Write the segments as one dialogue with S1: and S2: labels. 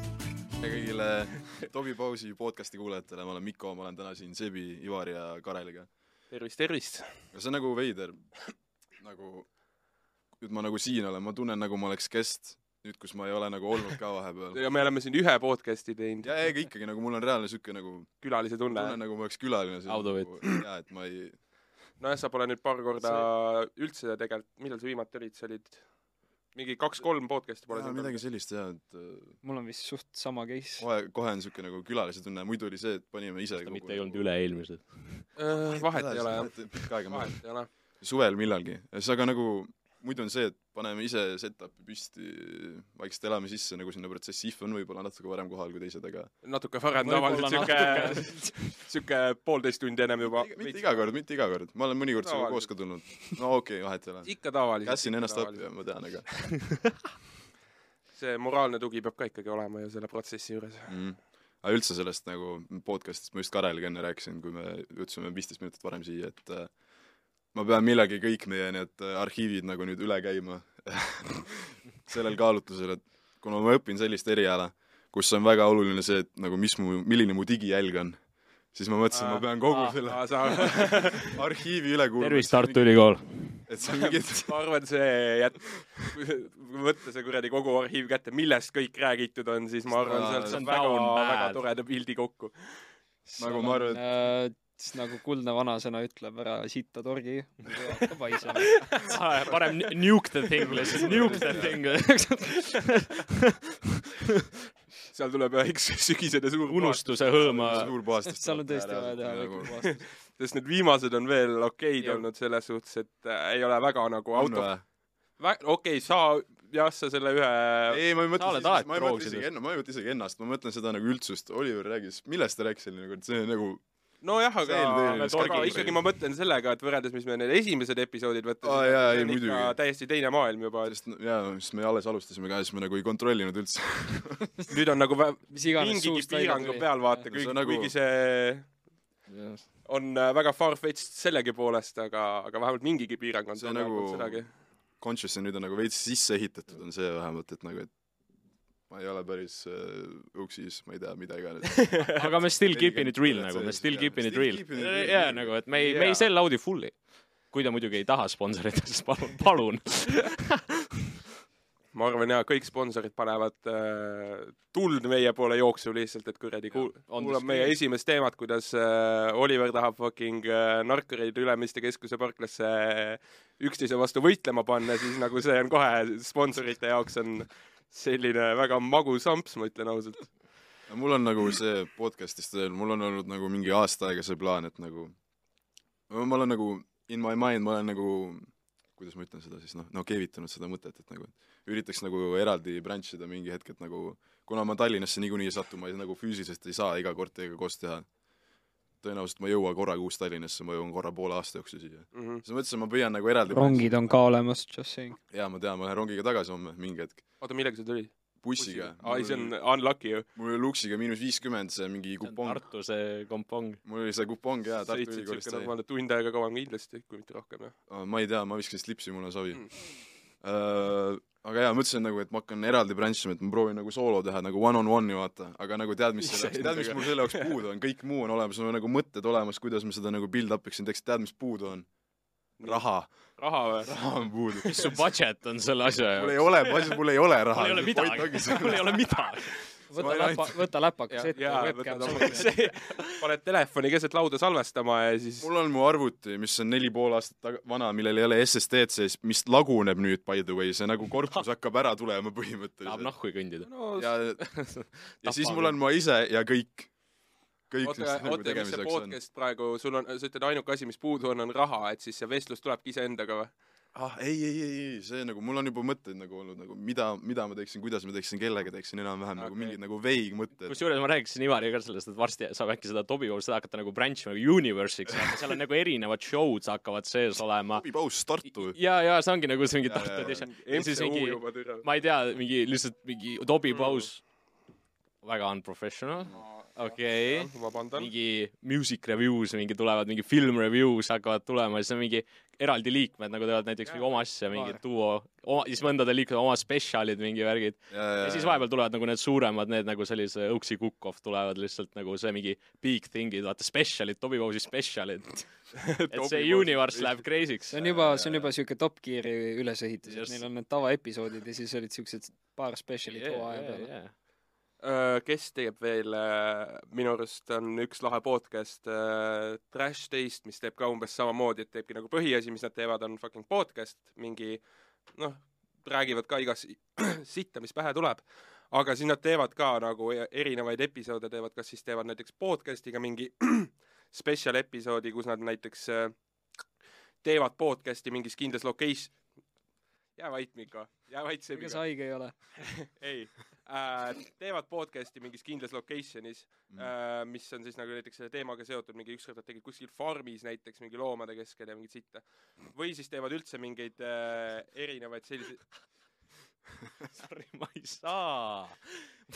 S1: tere kõigile Tobi Pausi podcasti kuulajatele, ma olen Mikko, ma olen täna siin Sebi, Ivari ja Kareliga.
S2: tervist, tervist!
S1: ja see on nagu veider, nagu nüüd ma nagu siin olen, ma tunnen, nagu ma oleks kest, nüüd kus ma ei ole nagu olnud ka vahepeal.
S2: ja me oleme siin ühe podcast'i teinud ,
S1: ja ega ikkagi nagu mul on reaalne siuke nagu
S2: külalise tunne .
S1: tunnen , nagu ma oleks külaline siin
S3: Audovõtt.
S1: nagu, jaa , et ma ei
S2: nojah , sa pole nüüd paar korda üldse tegelikult , millal sa viimati olid , sa olid mingi kaks-kolm podcast'i pole
S1: jaa ,
S2: siin
S1: midagi sellist jaa , et äh,
S4: mul on vist suht sama case .
S1: kohe , kohe on siuke nagu külalise tunne , muidu oli see , et panime ise
S3: ta
S1: kogu
S3: mitte ei
S1: nagu-
S3: olnud üle-eelmised .
S2: teinud . Äh, vahet ei ole jah ,
S1: pikka aega möödas .
S2: vahet ei ole .
S1: suvel millalgi , siis aga nagu muidu on see , et paneme ise setup'i püsti , vaikselt elame sisse nagu sinna protsessi , if on võib-olla natuke varem kohal kui teised , aga
S2: natuke varem
S4: Võib-olla
S2: tavaliselt siuke , siuke poolteist tundi ennem juba .
S1: Iga- mitte iga . kord , mitte iga kord , ma olen mõnikord sinuga koos
S2: Tavaliselt.
S1: ka tulnud . no okei okay, , vahet ei ole .
S2: ikka tavaliselt .
S1: kässin ennast appi , ma tean , aga
S2: see moraalne tugi peab ka ikkagi olema ju selle protsessi juures .
S1: mm. . aga üldse sellest nagu podcast'ist ma just Kareliga enne rääkisin , kui me jõudsime viisteist minutit varem siia , et äh, ma pean millalgi kõik meie need äh, arhiivid nagu nüüd üle käima sellel kaalutlusel , et kuna ma õpin sellist eriala , kus on väga oluline see , et nagu mis mu , milline mu digijälg on , siis ma mõtlesin ,
S4: Ah,
S1: ma pean kogu
S4: Aa,
S1: selle
S2: sa ,
S1: arhiivi üle kuulama ,
S3: tervist , Tartu Ülikool !
S1: et see on mingi
S2: ma arvan , see jät- , võtta see kuradi kogu arhiiv kätte , millest kõik räägitud on , siis ma arvan , sealt
S1: See
S3: on
S2: saab väga
S3: down , bad.
S2: väga toreda pildi kokku .
S1: Nagu ma arvan,
S4: et siis nagu kuldne vanasõna ütleb , ära sita torgi , hakka paisama .
S3: Ah, parem nu- nuke the thing , let's nuke the thing .
S2: seal tuleb üks sügisene suur puhas ,
S3: unustuse hõõma .
S1: suur puhastus .
S4: seal on tõesti vaja teha
S1: nagu-
S4: nagu väike puhastus .
S2: sest need viimased on veel okeid
S4: Jah.
S2: olnud selles suhtes , et äh, ei ole väga nagu
S1: on
S2: auto ,
S1: või ?
S2: okei , sa , jah , sa selle ühe
S1: ei , ma ei mõtle
S3: Sa oled
S1: isegi-
S3: alati
S1: ma ei mõtle
S3: proovinud.
S1: isegi enna- , ma ei mõtle isegi ennast , ma mõtlen seda nagu üldsust , Oliver rääkis , millest ta rääkis eelmine kord , see nagu
S2: nojah ,
S1: see
S2: aga
S1: eelmine
S2: aga
S1: skagi-
S2: ikkagi ma mõtlen sellega , et võrreldes , mis me need esimesed episoodid võtame
S1: Aa, jaa, ei,
S2: on ikka
S1: muidugi.
S2: täiesti teine maailm juba ,
S1: sest no- jaa , siis me alles alustasime ka ja siis me nagu ei kontrollinud üldse .
S2: et nüüd on nagu vä-
S4: mis iganes
S2: mingigi
S4: suust välja
S2: piirang on
S4: tuli .
S2: peal , vaata ,
S1: See
S2: kuigi
S1: on , nagu-
S2: kuigi see on äh, väga far-fetched sellegi poolest , aga , aga vähemalt mingigi piirang on
S1: See on
S2: täna
S1: nagu-
S2: olnud sedagi .
S1: Conscious on nüüd on nagu veits sisse ehitatud , on see vähemalt , et nagu , et ma ei ole päris äh, uksis , ma ei tea , mida iganes .
S3: aga me still keeping it real nagu , me still keeping it real . jaa , nagu , et me ei , me ei
S2: Jaa.
S3: sell audi fully . kui te muidugi ei taha sponsorit , siis palun , palun .
S2: ma arvan jaa , kõik sponsorid panevad äh, tuld meie poole jooksu lihtsalt , et kuradi kuul- ,
S3: on
S2: kuulab
S3: the
S2: meie
S3: screen.
S2: esimest teemat , kuidas äh, Oliver tahab fucking äh, narkareid Ülemiste keskuse parklasse äh, üksteise vastu võitlema panna , siis nagu see on kohe sponsorite jaoks on selline väga magus amps , ma ütlen ausalt .
S1: mul on nagu see podcast'ist veel , mul on olnud nagu mingi aasta aega see plaan , et nagu ma olen nagu in my mind , ma olen nagu kuidas ma ütlen seda siis noh , no keevitanud seda mõtet , et nagu üritaks nagu eraldi branch ida mingi hetk , et nagu kuna ma Tallinnasse niikuinii ei satu , ma ei, nagu füüsiliselt ei saa iga kord teiega koos teha . tõenäoliselt ma ei jõua korra kuus Tallinnasse , ma jõuan korra poole aasta jooksul siia .
S2: Mm -hmm.
S1: siis ma mõtlesin , ma püüan nagu eraldi
S4: rongid on ka olemas , just saying .
S1: jaa , ma tean , ma lähen rongiga tagasi homme mingi hetk .
S2: oota , millega sa tulid ?
S1: bussiga .
S2: aa , ei see on unlucky ju .
S1: mul oli luksiga miinus viiskümmend see mingi kupong .
S3: Tartu see kompong .
S1: mul oli see kupong jaa , Tartu
S2: sõitsid
S1: Ülikoolist
S2: siuke
S1: sai .
S2: normaalne tund aega kauem kindlasti , kui mitte rohkem jah .
S1: Aa, ma ei tea , ma viskan slipsi , mul on savi
S3: Hmm.
S2: Mm.
S1: mm. . aga jaa , mõtlesin nagu , et ma hakkan eraldi branch ima , et ma proovin nagu soolo teha nagu one on one'i vaata , aga nagu tead , mis selle jaoks , tead , mis mul selle jaoks puudu on , kõik muu on olemas , mul on nagu mõtted olemas , kuidas ma seda nagu build up'iks siin teeks , tead , mis puudu on ? raha ,
S2: raha või ?
S1: raha on puudu .
S3: mis su budget on selle asja
S1: mul
S3: jaoks ?
S1: ei ole , ma ütlesin , mul ei ole raha .
S3: mul ei ole midagi , mul ei ole midagi .
S1: Ma
S4: võta
S1: ei
S4: läpa , võta läpakas
S2: jaa ,
S4: ette
S2: jaa ,
S4: ja
S2: võtad
S4: webcam
S2: oma , see , paned telefoni keset lauda salvestama ja siis
S1: mul on mu arvuti , mis on neli pool aastat taga- vana , millel ei ole SSD-d sees , mis laguneb nüüd by the way , see nagu korpus hakkab ära tulema
S3: tahab
S1: põhimõtteliselt .
S3: nahku kõndida .
S2: no
S1: ja , ja siis mul on ma ise ja kõik . kõik , mis
S2: oota ,
S1: nagu
S2: oota , mis see
S1: tegemiseks on .
S2: podcast praegu , sul on , sa ütled , ainuke asi , mis puudu on , on raha , et siis see vestlus tulebki iseendaga või ?
S1: ah ei , ei , ei , ei , see nagu , mul on juba mõtteid nagu olnud nagu mida , mida ma teeksin , kuidas ma teeksin , kellega teeksin enam-vähem okay. nagu
S2: Okei.
S1: mingid nagu veigmõtted .
S3: kusjuures ma rääkisin Ivariga ka sellest , et varsti saab äkki seda Tobi pool , seda hakata nagu branch ima nagu universiks , seal on nagu erinevad show'd hakkavad sees olema .
S1: Tobi Paus , Tartu .
S3: ja , ja see ongi nagu see mingi
S1: Jaa,
S3: Tartu
S1: jaa, jaa.
S3: edition . ja siis
S2: MCU
S3: mingi ,
S2: juba türa .
S3: ma ei tea , mingi lihtsalt mingi Tobi Paus , väga unprofessional , okei okay.
S2: vabandan .
S3: mingi music reviews , mingi tulevad mingi film reviews hakkavad tulema ja siis on mingi eraldi liikmed nagu teevad näiteks mingi oma asja , mingid duo , siis mõndadel liikmed oma spetsialid , mingi värgid . ja siis vahepeal tulevad nagu need suuremad , need nagu sellise Õuksi Kukov tulevad lihtsalt nagu see mingi big thing'id , vaata spetsialid , Toby Bowsi spetsialid . et see universe läheb crazy'ks
S4: see . on juba , see on juba siuke Top Gear'i ülesehitus , et
S3: Just.
S4: neil on need tavaepisoodid ja siis olid siuksed paar spetsialit hooaja peale .
S2: Äh, kes teeb veel , minu arust on üks lahe podcast äh, Trash Taste , mis teeb ka umbes samamoodi , et teebki nagu põhiasi , mis nad teevad , on fucking podcast , mingi noh , räägivad ka igas sitta , mis pähe tuleb , aga siis nad teevad ka nagu e- erinevaid episoode teevad , kas siis teevad näiteks podcast'iga mingi spetsial episoodi , kus nad näiteks äh, teevad podcast'i mingis kindlas location , jää vait , Miko , jää vait ,
S4: ega
S2: Sebiga
S4: sa haige ei ole ?
S2: ei äh, , teevad podcast'i mingis kindlas location'is mm. , äh, mis on siis nagu näiteks selle teemaga seotud , mingi ükskord nad tegid kuskil farmis näiteks mingi loomade keskel ja mingit sitta . või siis teevad üldse mingeid äh, erinevaid selliseid ,
S3: Sorry , ma ei saa .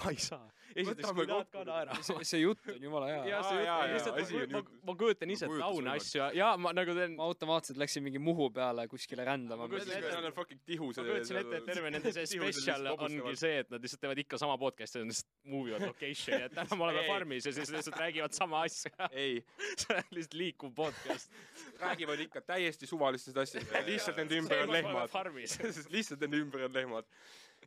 S3: ma ei saa . esiteks ,
S2: Võtame
S3: kui tahad
S2: kokku.
S3: ka naera .
S4: see jutt on jumala hea .
S3: ja
S2: Aa,
S3: see
S2: jaa, jaa,
S3: jutt ,
S2: asi on
S3: lihtsalt ma
S2: ju- ,
S3: ma kujutan ise
S1: kujutan
S3: taune
S1: silmaga.
S3: asju ja , ja ma nagu teen ,
S4: ma automaatselt läksin mingi Muhu peale kuskile rändama .
S3: Ma kujutan
S2: mõtlesin , et
S3: ette-
S2: nad on fucking
S3: ma
S2: tihused .
S3: kujutasin ette , et terve nende see spetsial ongi see , et nad lihtsalt teevad ikka sama podcast'i , nad lihtsalt move ivad location'i , et täna me oleme
S2: Ei.
S3: farmis ja siis lihtsalt räägivad sama asja .
S2: ei ,
S3: see on lihtsalt liikuv podcast .
S2: räägivad ikka täiesti suvalistest asjadest , lihtsalt nende ümber on lehmad .
S3: farmis .
S2: sest lihtsalt nende ümber on lehmad .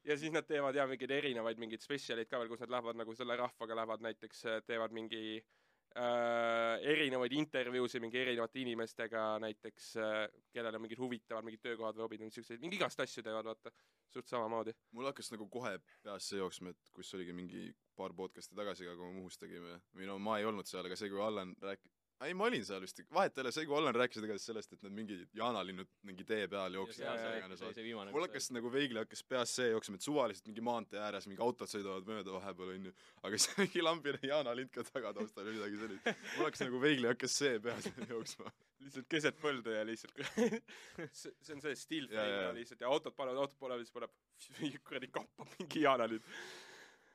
S2: ja siis nad teevad jaa mingeid erinevaid mingeid spetsialeid ka veel , kus nad lähevad nagu selle rahvaga lähevad näiteks , teevad mingi äh, erinevaid intervjuusid mingi erinevate inimestega näiteks äh, , kellel on mingid huvitavad mingid töökohad või hobid , siukseid , mingi igast asju teevad , vaata . suht samamoodi .
S1: mul hakkas nagu kohe peasse jooksma , et kus oligi mingi paar podcast'i tagasi , aga kui me Muhus tegime , või no ma ei olnud seal , aga see , kui Allan rääk- , ei ma olin seal vist , vahet ei ole , see , kui Allan rääkis igatahes sellest , et need mingid jaanalinnud mingi tee peal jooksid
S2: jaa,
S1: ja
S2: jaa,
S1: mis iganes vaata. mul hakkas nagu veigli hakkas peas see jooksma , et suvaliselt mingi maantee ääres mingi autod sõidavad mööda vahepeal onju , aga siis mingi lambine jaanalind ka tagataustal või midagi sellist . mul hakkas nagu veigli hakkas see peas jooksma .
S2: lihtsalt keset põldu ja lihtsalt see , see on see stiil
S1: Jaa, jaa.
S2: ja lihtsalt ja autod panevad , autod panevad , siis paneb kuradi kappa mingi jaana nüüd .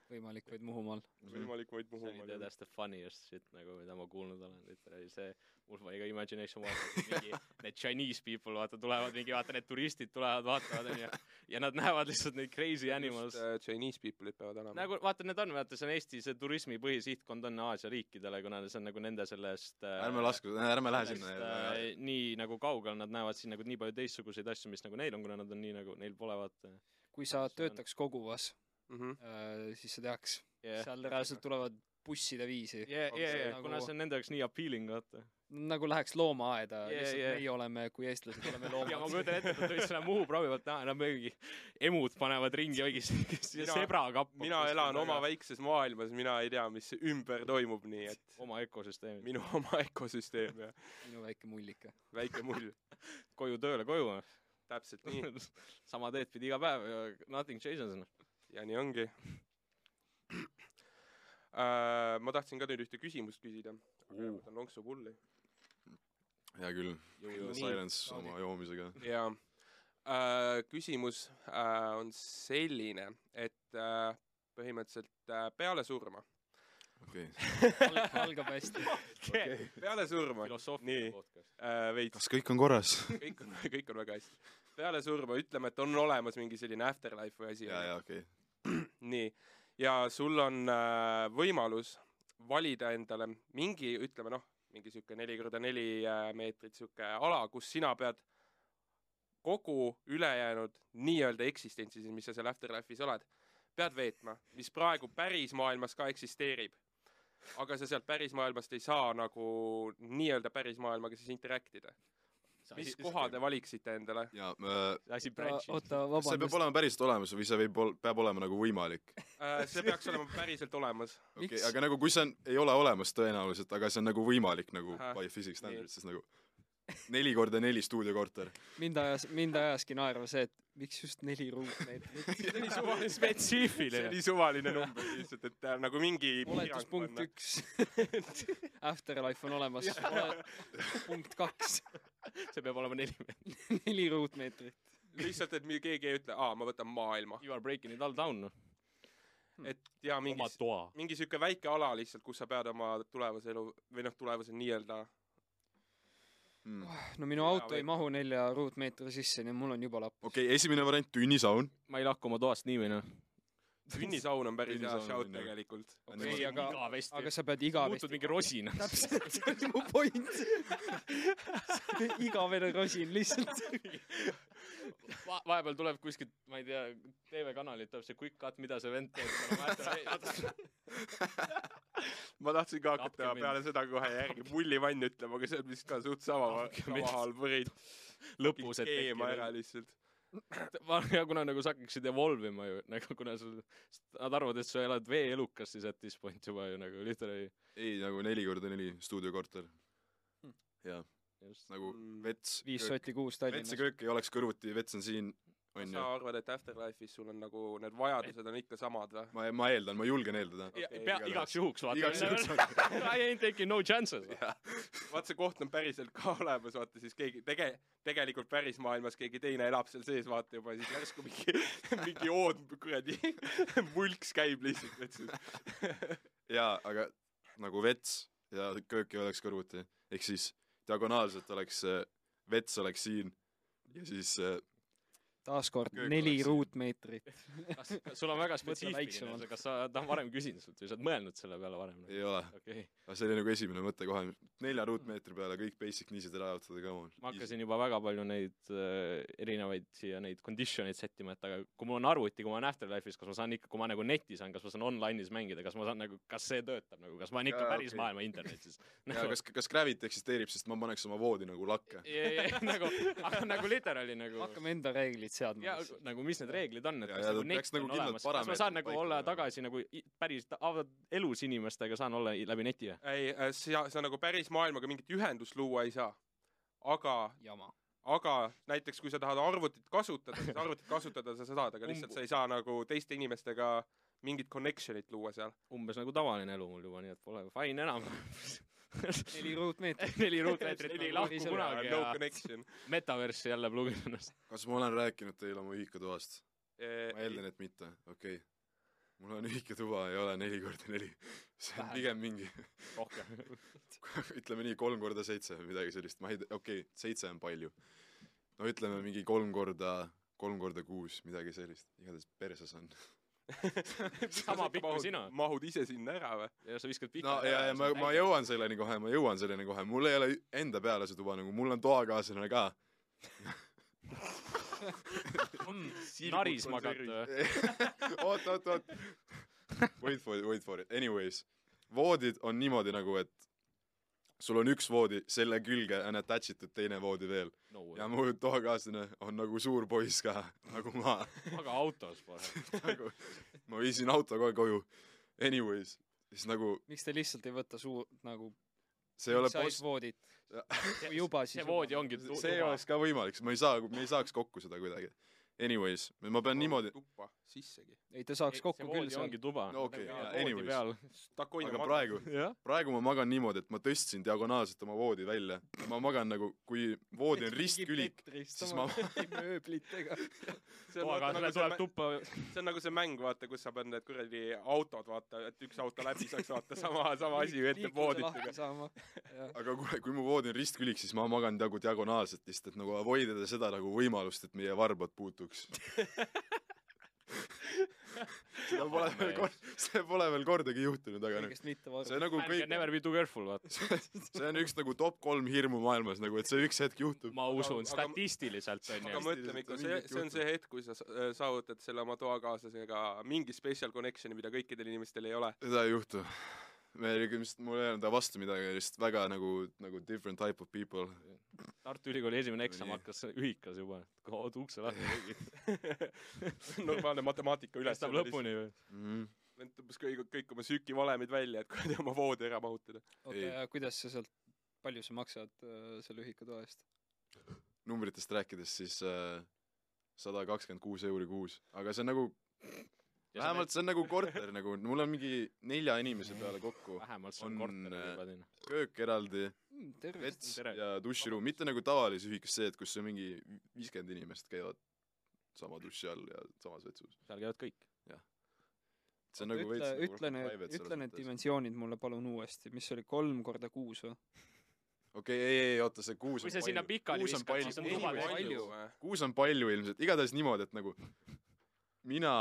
S4: võimalik vaid Muhumaal .
S2: võimalik vaid
S3: see oli
S2: Muhumaal .
S3: that's the funniest shit nagu mida ma kuulnud olen literaalselt see mul ma iga imagination vaatab mingi need Chinese people vaata tulevad mingi vaata need turistid tulevad vaatavad onju ja nad näevad lihtsalt neid crazy animals
S2: just äh, Chinese people'id peavad olema .
S3: nagu vaata need on vaata see on Eesti see turismi põhisihtkond on Aasia riikidele kuna see on nagu nende sellest äh,
S1: ärme lasku , ärme lähe
S3: sellest,
S1: sinna .
S3: äh, nii nagu kaugel nad näevad siin nagu nii palju teistsuguseid asju mis nagu neil on kuna nad on nii nagu neil pole vaata
S4: kui sa
S3: See on-
S4: töötaks koguvas ,
S2: mhmh .
S4: siis sa teaks .
S3: yeah.
S4: seal reaalselt tulevad busside viisi .
S3: Yeah, yeah,
S4: see
S3: yeah.
S4: nagu-
S3: kuna see on nende jaoks nii appealing vaata
S4: nagu läheks loomaaeda
S3: Jaa,
S4: yeah, , lihtsalt
S3: jaa.
S4: yeah. meie oleme kui eestlased , oleme
S3: ja ma
S4: loomad .
S3: kujutan ette , et nad tulid selle Muhu proovi pealt , nad mingi emud panevad ringi mingi
S2: Mina-
S3: sebra kappab .
S2: mina elan oma . väikses maailmas , mina ei tea , mis ümber toimub , nii et
S3: oma ökosüsteemi .
S2: minu oma ökosüsteem ja
S4: minu väike mullike .
S2: väike mull ,
S3: koju tööle , koju .
S2: täpselt nii
S3: sama teed pidi iga päev ja nothing changes . noh.
S2: ja nii ongi äh, . ma tahtsin ka nüüd ühte küsimust küsida , aga ma võtan lonksu pulli .
S1: hea küll , Kill the Silence oma joomisega .
S2: ja äh, küsimus äh, on selline , et äh, põhimõtteliselt äh, peale surma ,
S1: okei okay. ,
S4: algab hästi .
S2: peale surma ,
S3: filosoofiline
S2: Nii.
S3: podcast .
S2: äh, veits
S1: kas kõik on korras ?
S2: kõik on , kõik on väga hästi . peale surma ütleme , et on olemas mingi selline afterlife või asi .
S1: jaa , jaa , okei okay. .
S2: nii , ja sul on äh, võimalus valida endale mingi , ütleme noh , mingi sihuke neli korda neli äh, meetrit sihuke ala , kus sina pead kogu ülejäänud nii-öelda eksistentsi , siis mis sa seal afterlife'is oled , pead veetma , mis praegu päris maailmas ka eksisteerib . aga sa sealt päris maailmast ei saa nagu nii-öelda päris maailmaga siis interact ida . mis koha te valiksite endale ?
S1: jaa , see
S3: asi branch'i .
S4: oota ,
S1: peab
S4: vabandust .
S1: olema päriselt olemas või see võib ol- , peab olema nagu võimalik ?
S2: Äh, see peaks olema päriselt olemas .
S1: okei okay,
S4: Miks? ,
S1: aga nagu kui see on , ei ole olemas tõenäoliselt , aga see on nagu võimalik nagu
S2: Ahah.
S1: Aha. by physics standards , siis nagu neli korda neli stuudiokorter .
S4: mind ajas , mind ajaski naerma see , et miks just neli ruutmeetrit .
S2: see oli suvaline see
S3: spetsiifiline .
S2: oli suvaline number lihtsalt , et äh, nagu mingi
S4: oletus
S2: piirang
S4: punkt
S2: panna.
S4: üks . Afterlife on olemas . punkt kaks .
S3: see peab olema neli .
S4: neli ruutmeetrit .
S2: lihtsalt , et mi- keegi ei ütle , aa , ma võtan maailma .
S3: You are breaking it all down . noh. Hmm.
S2: et jaa ,
S3: oma
S2: mingi ,
S3: toa .
S2: mingi sihuke väike ala lihtsalt , kus sa pead oma tulevase elu või noh , tulevase nii-öelda
S1: mm. .
S4: no minu
S2: Jaa,
S4: auto ei
S2: võib-
S4: mahu nelja ruutmeetri sisse , nii et mul on juba lapp .
S1: okei okay, , esimene variant , tünnisaun .
S3: ma ei lahku oma toast noh. nii või naa .
S2: tünnisaun on päris hea
S1: Tünnisaun on
S2: shout
S1: hea.
S2: tegelikult .
S4: Okei,
S1: Okei,
S4: aga ,
S3: igavesti
S4: aga sa pead igavesti
S3: muutud mingi noh. rosinaks .
S4: täpselt , see oli mu point . igavene rosin lihtsalt .
S3: Va- , vahepeal tuleb kuskilt , ma ei tea , TV-kanalilt tuleb see quick cut , mida see vend teeb .
S2: ma tahtsin ka hakata
S3: Tapke mind.
S2: peale seda kohe järgi mullivann ütlema , aga see on vist ka suht sama ,
S3: Tapke mind.
S2: sama halb võrid .
S3: lõpus , et
S2: keema ära
S3: tekib .
S2: lihtsalt .
S3: ja kuna nagu sa hakkaksid evolve ima ju , nagu kuna sul , nad arvavad , et sa elad veeelukas , siis at this point juba ju nagu literally .
S1: ei , nagu neli korda neli stuudiokorter . jaa ,
S3: just .
S1: nagu
S2: Mm.
S1: vets .
S4: viis sotti kuus
S1: vets
S4: Tallinnas
S1: ja . köök ei oleks kõrvuti , vets on siin , on
S2: sa
S1: ju .
S2: arvad , et Afterlife'is sul on nagu need vajadused on ikka samad või ?
S1: ma , ma eeldan , ma julgen eeldada .
S3: ja
S2: Okei,
S3: pea ,
S1: Nagu, igatahes.
S3: igaks juhuks
S1: igaks juhuks
S3: vaata .
S1: on .
S3: I ain't taking no chances .
S2: vaat see koht on päriselt ka olemas , vaata siis keegi tege- , tegelikult päris maailmas keegi teine elab seal sees , vaata juba siis järsku mingi , mingi ood kuradi mulks käib lihtsalt , et siis
S1: jaa , aga nagu vets ja köök ei oleks kõrvuti , ehk siis diagonaalselt oleks , vets oleks siin ja siis äh,
S4: taaskord
S1: Köök
S4: neli
S1: oleks-
S4: ruutmeetrit .
S3: kas sul on väga
S4: Mõtle
S3: spetsiifiline
S4: väiksemalt.
S3: see , kas sa , ta on varem küsinud sult või sa oled mõelnud selle peale varem ?
S1: ei ole .
S3: okei ,
S1: aga see oli nagu esimene mõte kohe , nelja ruutmeetri peale kõik basic niisid ära jaotada , come on .
S3: ma . hakkasin juba väga palju neid äh, erinevaid siia neid condition eid sättima , et aga kui mul on arvuti , kui ma olen Afterlife'is , kas ma saan ikka , kui ma nagu netis olen , kas ma saan online'is mängida , kas ma saan nagu , kas see töötab nagu , kas ma olen ikka
S1: Jaa,
S3: ja, päris
S1: okei.
S3: okay. maailma internetis
S1: jaa ,
S3: nagu,
S1: kas , kas Gravit eksisteerib , sest ma paneks oma voodi nagu lakke .
S3: ja, ja, nagu , aga nagu literaali nagu
S4: hakkame enda reeglid seadma
S3: ja . nagu mis need reeglid on , et
S1: Ja,
S3: kas
S1: ja,
S3: nagu
S1: ta peaks
S3: net
S1: nagu
S3: on
S1: kindlad
S3: olemas , kas ma
S1: parameetrid
S3: saan nagu
S1: paika
S3: olla
S1: panema.
S3: tagasi nagu i- päris ta- av- elus inimestega saan olla i- läbi neti või ?
S2: ei , sa , sa nagu päris maailmaga mingit ühendust luua ei saa . aga ,
S4: jama .
S2: aga näiteks kui sa tahad arvutit kasutada , siis arvutit kasutada sa saad , aga lihtsalt sa ei saa nagu teiste inimestega mingit connection'it luua seal .
S3: umbes nagu tavaline elu mul juba , nii et pole fine enam
S4: neli ruutmeetrit .
S3: neli ruutmeetrit
S4: Neli
S3: ei lahku
S4: ruutmeetrit.
S3: kunagi
S2: no
S3: ja
S2: connection .
S3: metaversi jälle plugin ennast .
S1: kas ma olen rääkinud teile oma ühikatoast ? ma eeldan , et mitte , okei okay. . mul on ühikatuba , ei ole neli korda neli . see on
S3: Vähe.
S1: pigem mingi ,
S3: rohkem .
S1: ütleme nii , kolm korda seitse või midagi sellist , ma ei tea , okei okay, , seitse on palju . no ütleme mingi kolm korda , kolm korda kuus , midagi sellist , igatahes perses on .
S3: sama pikk kui sina .
S2: mahud ise sinna ära või ?
S3: ja sa viskad
S1: no ja , ja ma , ma . jõuan selleni kohe , ma jõuan selleni kohe , mul ei ole enda peale see tuba nagu , mul on toakaaslane ka .
S3: naris magad . äh,
S1: oot , oot , oot . Wait for it , wait for it , anyways . voodid on niimoodi nagu , et sul on üks voodi , selle külge on attach itud teine voodi veel
S3: no
S1: ja , mu toakaaslane on nagu suur poiss ka , nagu ma ,
S3: aga autos kohe .
S1: nagu ma viisin auto kohe koju . Anyways , siis nagu
S4: miks te lihtsalt ei võta suur , nagu
S1: see ei ole
S4: size
S1: post ,
S4: voodit ? kui juba , siis
S3: see voodi ongi tu-
S1: see ei
S3: tuba.
S1: oleks ka võimalik , ma ei saa , me ei saaks kokku seda kuidagi . Anyways , ma pean niimoodi ,
S2: tuppa sissegi .
S4: ei , ta saaks kokku
S3: see
S4: küll ,
S3: voodi
S4: see ongi
S3: ongi tuba .
S1: no okei
S2: jaa,
S1: okay, , anyways .
S2: Takoina
S1: aga praegu ,
S3: jah .
S1: praegu ma magan niimoodi , et ma tõstsin diagonaalselt oma voodi välja . ma magan nagu , kui voodi on ristkülik , siis ma ,
S4: mööblitega .
S2: see on, vaata,
S3: toakaaslane
S2: nagu see,
S3: tuleb tuppa .
S2: mä- see on nagu see mäng , vaata , kus sa paned need kuradi autod , vaata , et üks auto läbi saaks , vaata , sama , sama asi ju ette vooditega .
S4: saama .
S1: aga kui , kui mu voodi on ristkülik , siis ma magan nagu diagonaalselt lihtsalt , et nagu avoid ida seda nagu võimalust , et meie varbad puutuks . seda pole veel kord- , see pole veel kordagi juhtunud , aga nagu
S4: kõigest mitte varem .
S1: see nagu kõik ,
S3: Never be too careful , vaata .
S1: see on üks nagu top kolm hirmu maailmas nagu , et see üks hetk juhtub .
S3: ma usun ,
S2: Aga- aga-
S3: statistiliselt on
S2: aga
S3: ju .
S2: mõtleme ikka , see , see on see hetk , kui sa sa- äh, saavutad selle oma toakaaslasega mingi special connection'i , mida kõikidel inimestel ei ole .
S1: seda ei juhtu . me olime , mul ei olnud vastu midagi , lihtsalt väga nagu , nagu different type of people .
S3: Tartu Ülikooli esimene eksam
S1: Nii.
S3: hakkas ühikas juba . kaod ukse lahti tegi .
S2: normaalne matemaatika üles .
S3: kestab lõpuni või ?
S1: Mm.
S2: vend tõmbas kõik , kõik oma sükivalemid välja , et kuradi oma voodi ära mahutada .
S4: oota ,
S1: ei.
S4: ja kuidas sa sealt , palju sa maksad äh, selle ühikatoa eest ?
S1: numbritest rääkides , siis sada kakskümmend kuus euri kuus , aga see on nagu , vähemalt see on nagu korter nagu , mul on mingi nelja inimese peale kokku ,
S3: vähemalt see on
S1: on,
S3: korter
S1: äh,
S3: juba teinud .
S1: köök eraldi ,
S4: Hmm, tervist .
S1: vets
S3: Tere.
S1: ja duširuum , mitte nagu tavalises ühikas see , et kus on mingi viiskümmend inimest käivad sama duši all ja samas vetsus .
S3: seal käivad kõik .
S1: see on nagu
S4: ütle ,
S1: veits
S4: ütle need , ütle need . dimensioonid mulle palun uuesti , mis see oli , kolm korda kuus või ?
S1: okei , ei , ei , oota , see kuus
S3: kui sa sinna pikali
S1: kuus on
S3: viskad,
S1: palju-
S3: siis on
S1: kuus
S3: tuhat
S1: palju.
S3: palju.
S2: või ?
S1: kuus on palju ilmselt , igatahes niimoodi , et nagu mina ,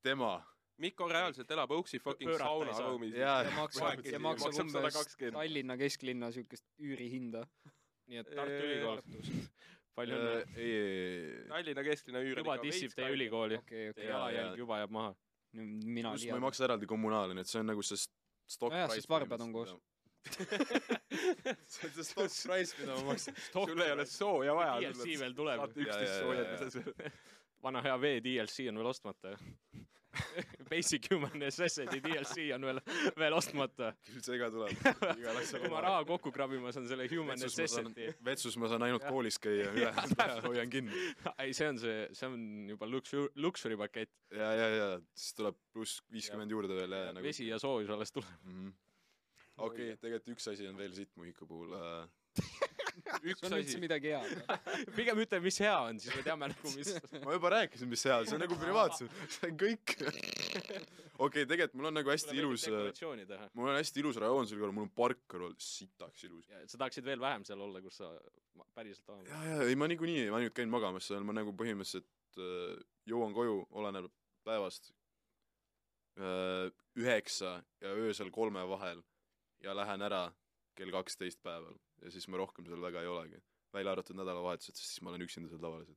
S1: tema
S2: Mikko reaalselt elab Oaksi fucking
S3: Pöörata ei saa.
S2: saunaruumis .
S1: ja
S4: ja maksab ,
S2: Vahekeegi
S4: ja maksab
S2: maksab
S4: umbes
S2: 120.
S4: Tallinna kesklinna siukest üürihinda . nii et
S3: Tartu Ülikool , palju õnne .
S1: äh, ei , ei , ei ,
S2: Tallinna kesklinna üür .
S3: juba dissib teie . ülikooli .
S4: okei , okei ,
S1: Jaa, jaa.
S3: jalajälg juba jääb maha .
S4: mina
S1: pluss ma ei
S4: liialdan .
S1: maksa eraldi kommunaali , nii et see on nagu see st- stock
S4: Nojah,
S1: price
S4: sest varbad on koos. .
S1: see on see stock price , mida ma maksan .
S2: sul ei ole sooja vaja .
S3: DLC veel tuleb .
S2: saate üksteist
S1: Jaa, jaa, jaa, jaa.
S2: soojendada seal .
S3: vana hea vee DLC on veel ostmata . Basic Human Necessity DLC on veel , veel ostmata .
S1: küll see ka tuleb . igal asjal .
S3: kui ma raha kokku krabin , ma saan selle Human
S1: vetsus ma saan
S3: Necessity .,
S1: vetsus ma saan ainult koolis käia , ülejäänud ajal hoian kinni .
S3: ei , see on see , see on juba luksur- , luksuri pakett .
S1: ja , ja , ja siis tuleb pluss viiskümmend juurde veel ja nagu .
S3: vesi ja soojus alles tuleb .
S1: okei , tegelikult üks asi on veel sittmuhiku puhul äh, .
S2: üks
S4: see on üldse
S2: asi .
S4: midagi head .
S3: pigem ütle , mis hea on , siis me teame nagu , mis .
S1: ma juba rääkisin , mis seal , see on nagu privaatsus , see on kõik . okei , tegelikult mul on nagu hästi ilus ,
S3: dekoratsiooni teha .
S1: mul on hästi ilus rajoon selle kõrval , mul on park on sitaks ilus .
S3: ja et sa tahaksid veel vähem seal olla , kus sa ma- päriselt oled .
S1: ja , ja ei ma niikuinii , ma ainult käin magamas seal , ma nagu põhimõtteliselt äh, jõuan koju , oleneb päevast äh, , üheksa ja öösel kolme vahel ja lähen ära kell kaksteist päeval ja siis ma rohkem seal väga ei olegi . välja arvatud nädalavahetused , sest siis ma olen üksinda seal tavaliselt .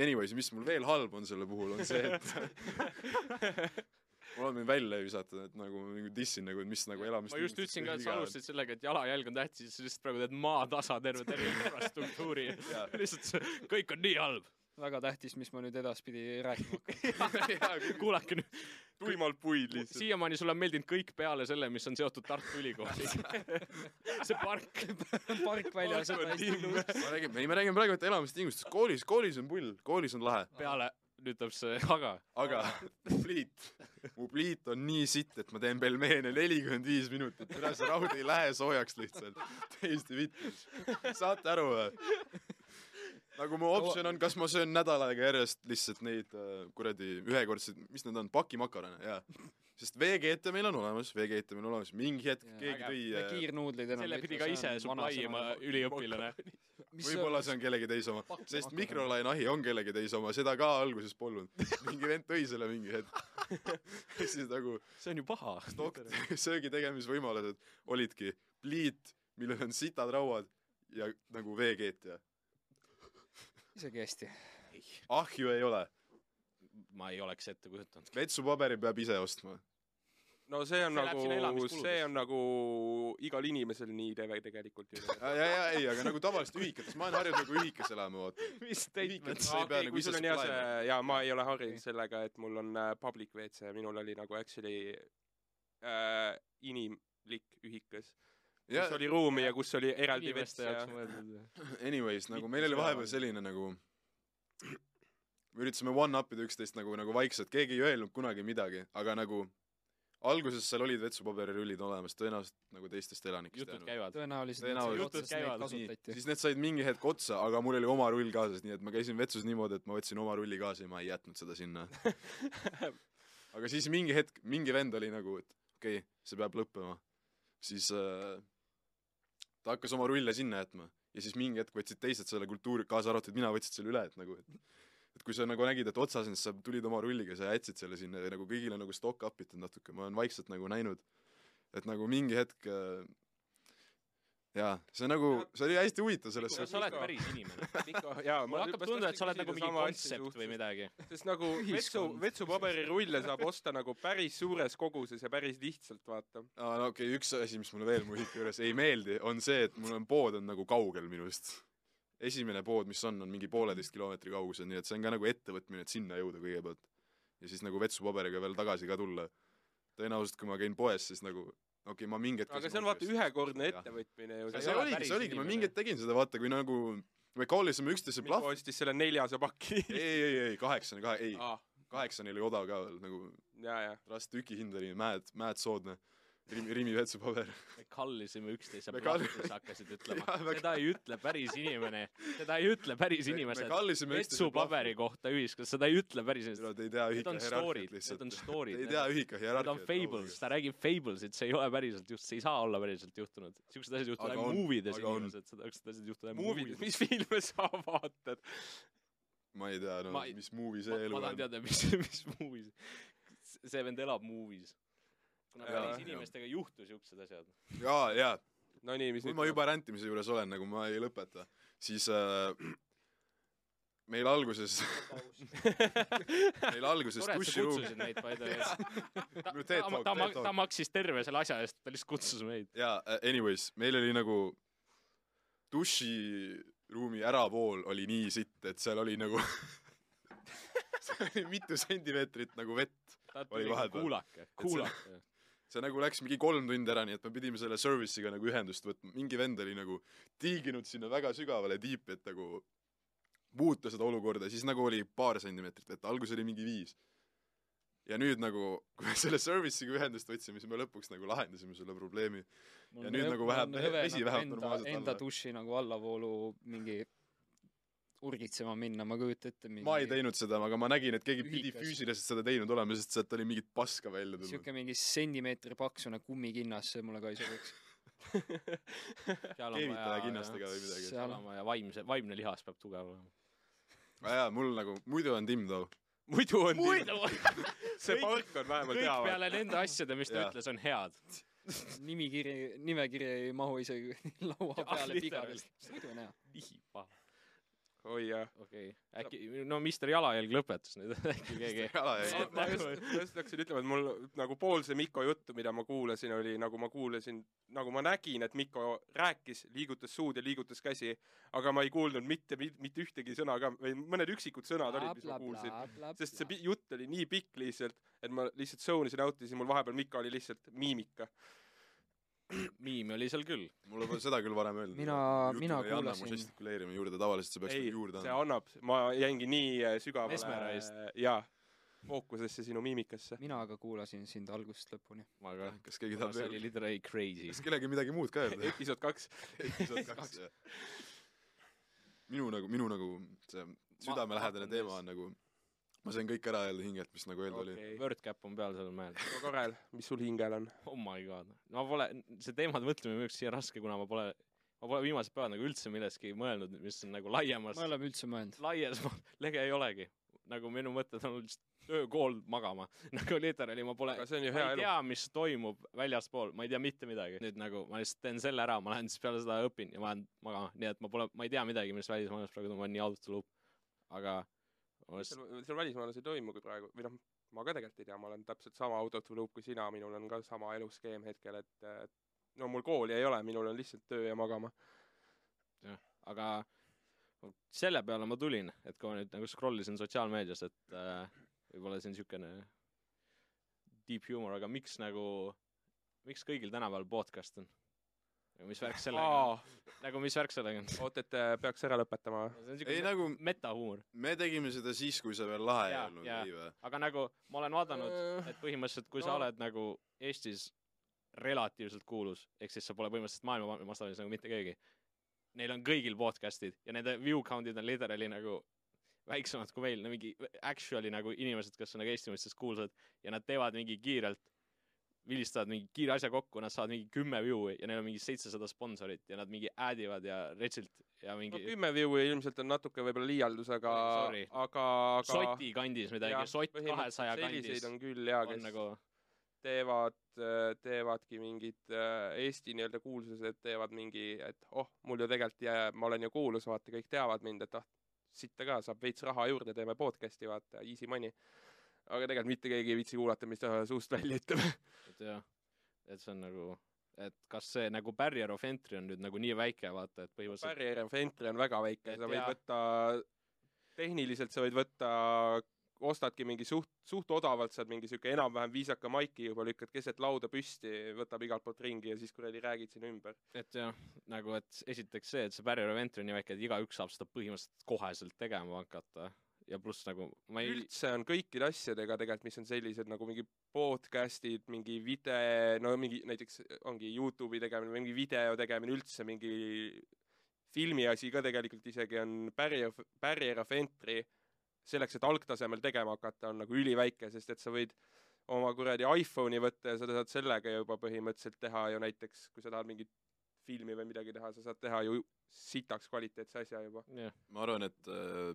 S1: Anyways , mis mul veel halb on selle puhul , on see , et mul on mind välja visatud , et nagu ma nagu dissin nagu , et mis nagu elamist
S3: ma just ütlesin ka , et sa . alustasid sellega , et jalajälg on tähtis , siis sa lihtsalt praegu teed maatasa terve terve infrastruktuuri . lihtsalt see , kõik on nii halb .
S4: väga tähtis , mis ma nüüd edaspidi rääkima hakkan .
S3: kuulake nüüd ,
S2: tuimalt puid lihtsalt .
S3: siiamaani sulle on meeldinud kõik peale selle , mis on seotud Tartu Ülikooliga . see park ,
S4: park väljas on hästi ilus .
S1: ma räägin , ei me räägime praegu , et elamistingimustest , koolis , koolis on pull , koolis on lahe .
S3: peale nüüd tuleb see aga .
S1: aga pliit , mu pliit on nii sitt , et ma teen pelmeene nelikümmend viis minutit , üle see raud ei lähe soojaks lihtsalt . täiesti vittus . saate aru või ? nagu mu optsioon on , kas ma söön nädal aega järjest lihtsalt neid äh, kuradi ühekordseid , mis need on , pakimakarone , jaa . sest veekeete meil on olemas , veekeete meil on olemas , mingi hetk
S4: Jaa,
S1: keegi
S3: äge.
S1: tõi
S4: ja
S1: äh,
S4: kiirnuudleid enam
S3: selle pidi ka ise supply ima üliõpilane .
S1: võib-olla see on kellegi teise oma , sest mikrolaineahi on kellegi teise oma , seda ka alguses polnud . mingi vend tõi selle mingi hetk . siis nagu
S3: see on ju paha .
S1: dok- , söögi tegemisvõimalused olidki pliit , millel on sitad rauad ja nagu veekeetja .
S4: isegi hästi .
S1: ahju ei ole ,
S3: ma ei oleks ette kujutanud .
S1: vetsupaberi peab ise ostma .
S2: no see on
S3: See läheb sinna
S2: nagu ,
S3: elamiskuludesse.
S2: see on nagu igal inimesel nii teve tegelikult ju .
S1: ja , ja ei , aga nagu tavaliselt ühikates , ma olen harjunud nagu ühikas elama , vaata .
S3: mis
S1: statement?
S3: statement ?
S1: sa ei pea
S2: okei ,
S1: nagu
S2: kui sul
S1: ise
S2: on jah
S1: supply
S2: see
S1: ima. ,
S2: jaa , ma ei ole harjunud sellega , et mul on äh, public WC , minul oli nagu actually äh, inimlik ühikas ,
S1: ja
S2: kus oli ruumi ja kus oli eraldi
S3: inimeste
S2: WC ja
S3: jaoks mõeldud .
S1: anyways , nagu meil oli vahepeal selline nagu me üritasime one-up ida üksteist nagu , nagu vaikselt , keegi ei öelnud kunagi midagi , aga nagu alguses seal olid vetsupaberirüllid olemas , tõenäoliselt nagu teistest elanikest
S3: jutud . käivad .
S4: tõenäoliselt
S1: Tõenäoliselt.
S4: otseselt neid
S3: Jutud
S4: kasutati .
S1: siis need said mingi hetk otsa , aga mul oli oma rull kaasas , nii et ma käisin vetsus niimoodi , et ma võtsin oma rulli kaasa ja ma ei jätnud seda sinna . aga siis mingi hetk , mingi vend oli nagu , et okei okay, , see peab lõppema . siis äh, ta hakkas oma rulle sinna jätma ja siis mingi hetk võtsid teised selle kultuuri , kaasa arvatud mina , võtsid selle üle , et nagu , et et kui sa nagu nägid , et otsas on , siis sa tulid oma rulliga , sa jätsid selle sinna ja nagu kõigil on nagu stock-up itud natuke , ma olen vaikselt nagu näinud , et nagu mingi hetk äh, jaa , see nagu , see oli hästi huvitav selles
S3: kas
S1: suhtes
S3: sa . oled päris inimene ?
S2: Mikko , jaa .
S3: mul hakkab tunduma , et sa oled nagu mingi kontsept või . midagi .
S2: sest nagu vetsu ,
S4: Ühiskond.
S2: vetsupaberirulle saab osta nagu päris suures koguses ja päris lihtsalt , vaata .
S1: aa , no okei okay, , üks asi , mis mulle veel muusika juures ei meeldi , on see , et mul on pood on nagu kaugel minust . esimene pood , mis on , on mingi pooleteist kilomeetri kaugusel , nii et see on ka nagu ettevõtmine , et sinna jõuda kõigepealt . ja siis nagu vetsupaberiga veel tagasi ka tulla . tõenäoliselt , kui ma käin poes , siis nagu okei okay, , ma mingi hetk
S2: aga see on vaata ühekordne . ettevõtmine ju .
S3: Sa ei
S1: see
S3: ole
S1: oligi ,
S3: päris
S1: see oligi , ma
S3: inimene.
S1: mingi hetk tegin seda , vaata , kui nagu me callisime üksteise
S2: Mikko
S1: plahvi .
S2: ostis selle neljase paki . Ah,
S1: ei , ei , ei , kaheksani , kahe , ei ,
S2: jaa ,
S1: kaheksani oli odav ka veel nagu
S2: jaa .
S1: trust tükihind oli mäed , mäed soodne . Rimi , Rimi vetsupaber .
S3: me kallisime üksteise
S1: Me kall-
S3: plahvates , hakkasid ütlema
S1: Jaa, . me-
S3: seda ei ütle päris inimene , seda ei ütle päris
S1: me
S3: inimesed .
S1: kallisime
S3: vetsupaberi kohta ühiskonnas , seda ei ütle päris
S1: plahvates . no
S3: inimesed .
S1: te ei tea
S3: Need
S1: ühika
S3: on
S1: hierarhiat
S3: story'd, need
S1: lihtsalt .
S3: on story'd,
S1: Te ei
S3: need
S1: tea Oh,
S3: on-
S1: ühika
S3: Need on
S1: hierarhiat .
S3: fables , ta räägib fablesid , see ei ole päriselt just , see ei saa olla päriselt juhtunud . siuksed asjad juhtuvad
S1: Aga
S3: ainult
S1: on,
S3: muuvides
S1: aga on.
S3: inimesed , seda , siuksed asjad juhtuvad ainult
S2: Movie ,
S3: muuvides .
S2: mis filme sa vaatad ?
S1: ma ei tea , no
S3: Ma ei-
S1: mis movie
S3: ma
S1: see elu
S3: ma tahan
S1: on .
S3: teada , mis , mis muuvis . see vend elab muuvis . kuna
S2: Jaa,
S3: päris
S1: jah.
S3: inimestega ei juhtu siuksed asjad .
S1: jaa , jaa .
S2: Nonii , mis
S1: kui ma juba räntimise juures olen , nagu ma ei lõpeta , siis äh, meil alguses , meil alguses
S3: tore , et sa
S1: duširuum
S3: kutsusid meid , by the way . ta ,
S1: No
S3: ta,
S1: TED Talk,
S3: ta,
S1: TED
S3: ma-
S1: Talk.
S3: ta maksis terve selle asja eest , ta lihtsalt kutsus meid .
S1: jaa , anyways , meil oli nagu duširuumi ärapool oli nii sitt , et seal oli nagu seal oli mitu sentimeetrit nagu vett . Oli vahepeal.
S3: kuulake , kuulake .
S1: see nagu läks mingi kolm tundi ära , nii et me pidime selle service'iga nagu ühendust võtma , mingi vend oli nagu tiiginud sinna väga sügavale tiipi , et nagu muuta seda olukorda , siis nagu oli paar sentimeetrit vett , alguses oli mingi viis . ja nüüd nagu , kui me selle service'iga ühendust võtsime , siis me lõpuks nagu lahendasime selle probleemi . Ja nüüd nagu vähe- vesi vähe normaalselt alla.
S4: alla . Enda duši nagu allavoolu mingi urgitsema minna , ma ei kujuta ette .
S1: ma ei teinud seda , aga ma nägin , et keegi pidi
S4: Ühikas.
S1: füüsiliselt seda teinud olema , sest sealt oli mingit paska välja tulnud .
S4: siuke mingi sentimeetri paksune kummikinnas , see mulle ka ei sobiks .
S1: keevitaja kinnastega või midagi .
S4: See- Seal-
S3: olema ja vaimse , vaimne lihas peab tugev olema .
S1: aa jaa , mul nagu , muidu on Tim Tao .
S2: muidu on nii ,
S3: muidu ,
S2: see
S3: kõik-
S2: park on vähemalt
S3: kõik
S2: hea .
S3: peale nende asjade , mis ta
S1: Jaa.
S3: ütles , on head .
S4: nimikiri , nimekiri ei mahu isegi
S1: Ah,
S4: laua
S3: Jaa,
S4: peale
S3: literaalselt.
S4: pigadest . muidu on hea .
S3: nii paha .
S2: oi jah .
S3: okei okay. , äkki , no Mister Jalajälg lõpetas nüüd , äkki keegi .
S1: jalajälg .
S2: ma just , just hakkasin ütlema , et mul nagu pool see Mikko juttu , mida ma kuulasin , oli nagu ma kuulasin , nagu ma nägin , et Mikko rääkis , liigutas suud ja liigutas käsi , aga ma ei kuulnud mitte , mitte ühtegi sõna ka või mõned üksikud sõnad olid , mis ma kuulsin . sest see pi- jutt oli nii pikk lihtsalt , et ma lihtsalt zone isin out'i , siis mul vahepeal Mikko oli lihtsalt miimika .
S3: miimi oli seal küll .
S1: mulle pole seda küll varem öeldud .
S4: Mina- mina kuulasin-
S1: mu žestikuleerime juurde , tavaliselt sa peaks
S2: ei ,
S1: nagu juurde
S2: see
S1: andma .
S2: annab , ma jäingi nii äh, sügavale
S3: Mesmerized.
S2: jaa , fookusesse sinu miimikasse .
S4: mina aga kuulasin sind algusest lõpuni .
S3: ma ka .
S1: kas keegi tahab
S3: see oli
S1: veel ,
S3: literally crazy .
S1: kas kellelgi midagi muud ka öelda ?
S2: episood kaks .
S1: episood kaks , jah . minu nagu , minu nagu see südamelähedane
S3: vaatan
S1: teema
S3: ees.
S1: on nagu , ma sain kõik ära öelda hingelt , mis nagu öelda oli .
S2: okei ,
S3: WordCap on peal sellel mehel .
S2: Karel , mis sul hingel on ?
S3: oh my god , ma pole , see teemade mõtlemine on minu jaoks siia raske , kuna ma pole , ma pole viimased päevad nagu üldse millestki mõelnud , mis on nagu laiemas
S4: ma , ei ole üldse mõelnud .
S3: laias ma- lege ei olegi . nagu minu mõtted on olnud lihtsalt öökool magama . nagu literally ma pole ,
S2: aga see on ju
S3: ma
S2: hea
S3: ei
S2: elu .
S3: tea , mis toimub väljaspool , ma ei tea mitte midagi . nüüd nagu ma lihtsalt teen selle ära , ma lähen siis peale seda õpin ja ma lähen magama , nii et ma pole , ma ei tea midagi , mis välismaailmas praegu toimub , ma olen nii out of the loop . aga ma lihtsalt ,
S2: seal, seal välismaalas ei toimugi praegu või noh , ma ka tegelikult ei tea , ma olen täpselt sama out of the loop kui sina , minul on ka sama eluskeem hetkel , et äh, no mul kooli ei ole , minul on lihtsalt töö ja magama .
S3: aga selle peale ma tulin , et kui ma nüüd nagu scroll isin sotsiaalmeedias , et äh, võib-olla see on niisugune deep humor , aga miks nagu , miks kõigil tänapäeval podcast on ? mis värk sellega on ?
S2: oot ,
S3: nagu mis värk sellega on ?
S2: et äh, peaks ära lõpetama või ?
S3: see on
S1: ei
S3: niisugune
S1: nagu ,
S3: metahuumor .
S1: me tegime seda siis , kui see veel lahe ei
S3: Jaa,
S1: olnud ,
S3: jaa.
S1: ei või ?
S3: aga nagu ma olen vaadanud , et põhimõtteliselt , kui no. sa
S2: Äh. no.
S3: oled nagu Eestis relatiivselt kuulus , ehk siis sa pole põhimõtteliselt maailma ma- mastaabis nagu mitte keegi . Neil on kõigil podcast'id ja nende view count'id on literally nagu väiksemad kui meil , no mingi actually nagu inimesed , kes on nagu Eesti mõistes kuulsad ja nad teevad mingi kiirelt , vilistavad mingi kiire asja kokku , nad saavad mingi kümme view'i ja neil on mingi seitsesada sponsorit ja nad mingi ad ivad ja retsilt ja
S2: no
S3: mingi no,
S2: kümme view'i ilmselt on natuke võib-olla liialdus , aga ,
S3: Sorry.
S2: aga , aga
S3: soti kandis midagi , sott kahesaja
S2: selliseid
S3: kandis
S2: on küll jaa ,
S3: on
S2: kes
S3: nagu
S2: teevad , teevadki mingid äh, Eesti nii-öelda kuulsused , teevad mingi , et oh , mul ju tegelikult jääb , ma olen ju kuulus , vaata , kõik teavad mind , et ah , sitta ka , saab veits raha juurde , teeme podcast'i , vaata , easy money . aga tegelikult mitte keegi ei viitsi kuulata , mis ta suust välja ütleb .
S3: et jah , et see on nagu , et kas see nagu barrier of entry on nüüd nagu nii väike , vaata , et põhimõtteliselt
S2: Barrier of entry on väga väike ,
S3: Et
S2: sa võid
S3: jaa.
S2: võtta , tehniliselt sa võid võtta ostadki mingi suht , suht odavalt , saad mingi sihuke enam-vähem viisaka maiki juba , lükkad keset lauda püsti , võtab igalt poolt ringi ja siis kuradi räägid sinna ümber .
S3: et jah , nagu et esiteks see , et see barrier of entry on nii väike , et igaüks saab seda põhimõtteliselt koheselt tegema hakata ja pluss nagu ma ei ,
S2: üldse on kõikide asjadega tegelikult , mis on sellised nagu mingi podcast'id , mingi video , no mingi näiteks ongi Youtube'i tegemine , mingi video tegemine üldse , mingi filmi asi ka tegelikult isegi on barrier , barrier of entry selleks , et algtasemel tegema hakata , on nagu üliväike , sest et sa võid oma kuradi iPhone'i võtta ja sa saad sellega juba põhimõtteliselt teha ju näiteks , kui sa tahad mingit filmi või midagi teha , sa saad teha ju sitaks kvaliteetse asja juba .
S3: jah ,
S1: ma arvan , et äh,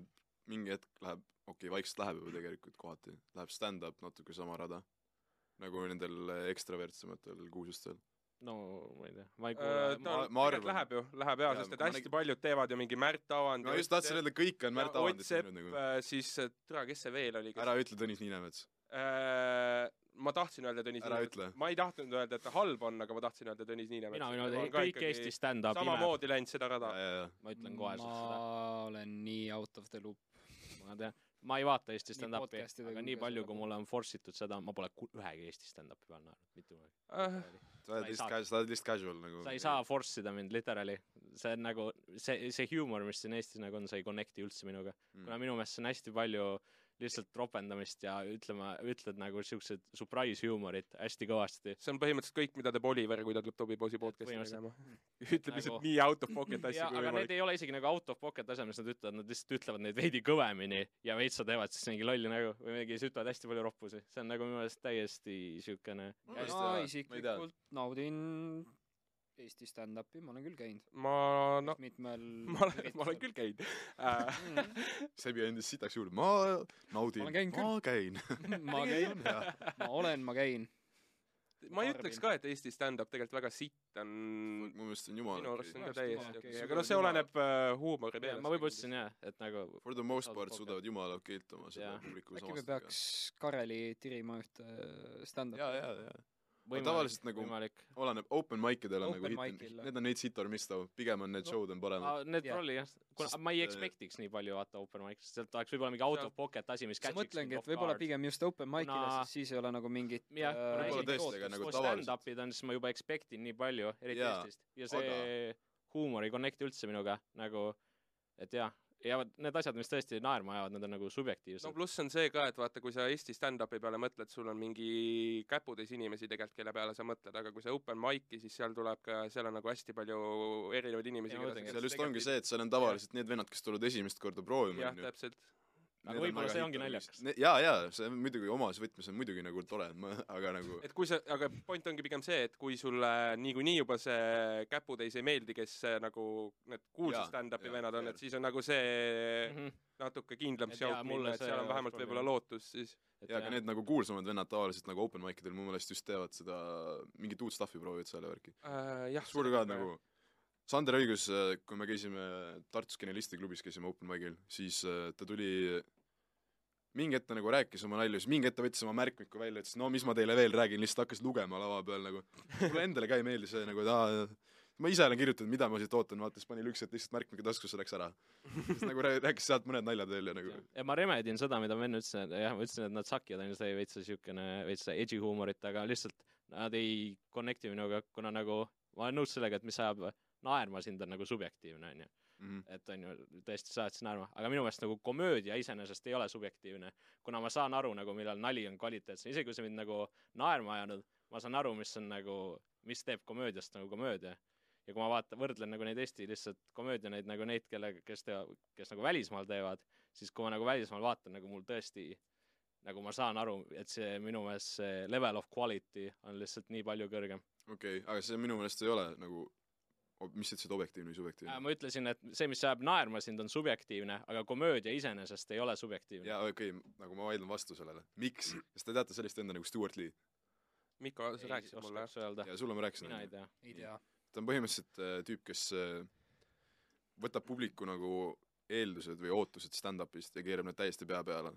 S1: mingi hetk läheb , okei okay, , vaikselt läheb juba tegelikult kohati , läheb stand-up natuke sama rada , nagu nendel ekstravertsematel kuusustel .
S3: no ma ei tea , ma ei
S2: Äh,
S3: kuule ,
S2: ta
S1: ma-
S2: on-
S1: ma
S2: tegelikult
S1: arvan.
S2: läheb ju , läheb jaa ,
S1: Jaa,
S2: sest et
S1: ma
S2: hästi
S1: nägin-
S2: paljud teevad ju mingi Märt Avand
S1: ma just tahtsin öelda , kõik on Märt Avandit
S2: Ott
S1: teinud nagu .
S2: Sepp , siis äh, türa , kes see veel oli , kes
S1: ära ütle Tõnis Niinemets .
S2: Äh, ma tahtsin öelda Tõnis
S1: Ära ütle.
S2: ma ei tahtnud öelda , et ta halb on , aga ma tahtsin öelda Tõnis Niinemets .
S3: mina minu arvates kõik Eesti stand-up imeb ,
S2: samamoodi läinud seda rada .
S3: ma ütlen kohe sulle seda ,
S4: ma olen nii out of the loop .
S3: ma tean , ma ei vaata Eesti
S4: Nii
S3: stand-up'i ,
S4: podcastidega
S3: aga
S4: kui
S3: nii
S4: ka
S3: palju ,
S4: sellega.
S3: kui mulle on force itud seda , ma pole ku- ühegi Eesti stand-up'i peal naernud , mitte
S2: Äh.
S3: kunagi .
S1: sa oled
S3: ei
S1: lihtsalt
S3: saa.
S1: ca- , sa oled lihtsalt casual nagu .
S3: sa ei saa . force ida mind literally , see on nagu see , see huumor , mis siin Eestis nagu on , see ei connect'i üldse minuga mm. .
S1: Mm.
S3: kuna minu meelest see on hästi palju lihtsalt ropendamist ja ütleme , ütled nagu siuksed surprise huumorit hästi kõvasti .
S2: see on põhimõtteliselt kõik , mida teeb Oliver , kui ta tuleb Tobi Poisi podcast'i
S3: Põhimõtteliselt.
S2: tegema . ütleb
S3: Nagu-
S2: lihtsalt nii out of pocket asju
S3: ja ,
S2: kui
S3: aga need
S2: võimalik .
S3: ei ole isegi nagu out of pocket tasemes , nad ütlevad , nad lihtsalt ütlevad neid veidi kõvemini ja veitsa teevad siis mingi lolli nägu või mingi , siis ütlevad hästi palju roppusi . see on nagu minu meelest täiesti siukene ,
S1: Ma
S4: mina
S1: ei tea, ma
S4: isiklikult naudin Eesti stand-up'i , ma olen küll käinud
S2: ma , no ,
S4: mitmel
S2: ma olen , ma olen küll käinud . Äh,
S1: sebi andis sitaks juurde , ma naudin
S4: Ma olen , käinud
S1: ma käin .
S4: ma käin , ma olen , ma käin .
S2: ma ei
S4: Arvin.
S2: ütleks ka , et Eesti stand-up tegelikult väga sitt on
S1: mu meelest on jumala
S2: minu arust on
S1: okei .
S2: ka
S4: Minu
S2: täiesti okei
S4: arust on
S2: okay. ,
S4: okei.
S2: aga noh , see
S4: Jumala-
S2: oleneb äh, huumori peale .
S3: ma võib-olla ütlesin jah , et nagu
S1: For the most
S3: Out of
S1: part
S3: pocket.
S1: suudavad jumala okeilt oma seda
S3: Jaa.
S1: publiku
S4: äkki me
S1: samastada .
S4: peaks Kareli tirima ühte äh, stand-up'i ?
S1: jaa , jaa , jaa .
S3: võimalik,
S1: tavaliselt nagu-
S3: võimalik.
S1: oleneb , open mic idel on
S4: Open
S1: nagu hit
S4: mic'il. ,
S1: need on neid sitar mis ta , pigem on need
S3: No.
S1: show'd on paremad .
S3: Ah, Need
S4: Jah.
S3: trolli jah , kuna
S1: Sest,
S3: ma
S1: äh,
S3: ei expect'iks nii palju vaata open mic'i , sest sealt oleks võib-olla mingi out of pocket asi , mis
S4: ma
S3: catch'iks
S4: mõtlengi ,
S3: mind
S4: et
S3: off
S4: võib-olla
S3: guard.
S4: pigem just open mic'ile
S3: Kuna-
S4: kuna... , sest siis ei ole nagu mingit
S3: jah , kuna
S1: võib-olla
S3: esimene
S1: tõesti, aga
S3: ootus-
S1: nagu
S3: kus
S1: tavaliselt-
S3: stand-up'id on , siis ma juba expect in nii palju , eriti
S1: Jaa,
S3: Eestist . ja see huumor ei connect'i üldse minuga nagu , et jah , ja vot need asjad , mis tõesti naerma ajavad , need on nagu
S2: no
S3: subjektiivsed no, .
S2: pluss on see ka , et vaata , kui sa Eesti stand-up'i peale mõtled , sul on mingi käputäis inimesi tegelikult , kelle peale sa mõtled , aga kui sa open mic'i , siis seal tuleb ka , seal on nagu hästi palju erinevaid inimesi ,
S3: Ja ma mõtlengi,
S1: seal
S2: kes
S1: just ongi
S2: tegelikult-
S1: see , et seal on tavaliselt need vennad , kes tulevad esimest korda proovima ,
S2: jah ,
S1: onju .
S2: täpselt .
S3: Aga võib-olla see ongi naljakas. .
S1: jaa , jaa , see on muidugi omas võtmes on muidugi nagu tore , aga nagu
S2: et kui sa , aga point ongi pigem see , et kui sulle niikuinii juba see käputäis ei meeldi , kes äh, nagu need
S1: Jaa,
S2: kuulsad stand-up'i
S1: jaa,
S2: vennad on ,
S1: fair.
S2: et siis on nagu see
S3: et
S2: natuke kindlam
S3: Et jaa,
S2: shout
S3: mulle
S2: minna , et
S3: see
S2: seal on
S3: oleks
S2: vähemalt
S3: probleem.
S2: võib-olla lootus siis .
S1: jaa , aga need nagu kuulsamad vennad tavaliselt nagu open mic idel mu meelest just teevad seda , mingit uut stuff'i proovivad seal ja värki .
S2: Äh, jah .
S1: suur ka nagu , Sander õigus , kui me käisime Tartus Genialisti klubis , käisime open mic'il , siis äh, ta tuli mingi hetk ta nagu rääkis oma nalju , siis mingi hetk ta võttis oma märkmiku välja , ütles no mis ma teile veel räägin , lihtsalt hakkas lugema lava peal nagu . mulle endale ka ei meeldi see nagu , et aa , ma ise olen kirjutanud , mida ma siit ootan , vaata siis pani üks hetk lihtsalt märkmiku taskusse , läks ära . siis nagu rää- rääkis sealt mõned naljad veel ja nagu
S3: ja, ja ma remedin seda , mida ma enne ütlesin , et jah , ma ütlesin , et nad sakid , on ju , see veitsa siukene , veitsa edgy huumorit , aga lihtsalt nad ei connect'i minuga , kuna nagu ma olen nõus sellega , et mis ajab naerma sind , on nagu subjektiivne , on ju .
S1: mm,
S3: et on ju , tõesti sa ajad siis naerma , aga minu meelest nagu komöödia iseenesest ei ole subjektiivne , kuna ma saan aru nagu , millal nali on kvaliteetne , isegi kui see mind nagu naerma ajanud , ma saan aru , mis on nagu , mis teeb komöödiast nagu komöödia . ja kui ma vaatan , võrdlen nagu neid Eesti lihtsalt komöödianeid nagu neid , kelle , kes teevad , kes nagu välismaal teevad , siis kui ma nagu välismaal vaatan , nagu mul tõesti nagu ma saan aru , et see minu meelest see level of quality on lihtsalt nii palju kõrgem .
S1: okei okay, , aga see minu meelest ei ole nagu , mis sa ütlesid , objektiivne või subjektiivne ?
S3: Äh, ma ütlesin , et see , mis ajab naerma sind , on subjektiivne , aga komöödia iseenesest ei ole subjektiivne .
S1: jaa , okei okay, , nagu ma vaidlen vastu sellele , miks , kas te teate sellist enda nagu Stewart Lee ?
S2: Miko , sa rääkisid mulle , jah ?
S3: oskaks öelda ,
S1: ja sulle ma rääkisin .
S3: mina ei tea .
S4: ei tea .
S1: ta on põhimõtteliselt äh, tüüp , kes äh, võtab publiku nagu eeldused või ootused stand-up'ist ja keerab need täiesti pea peale .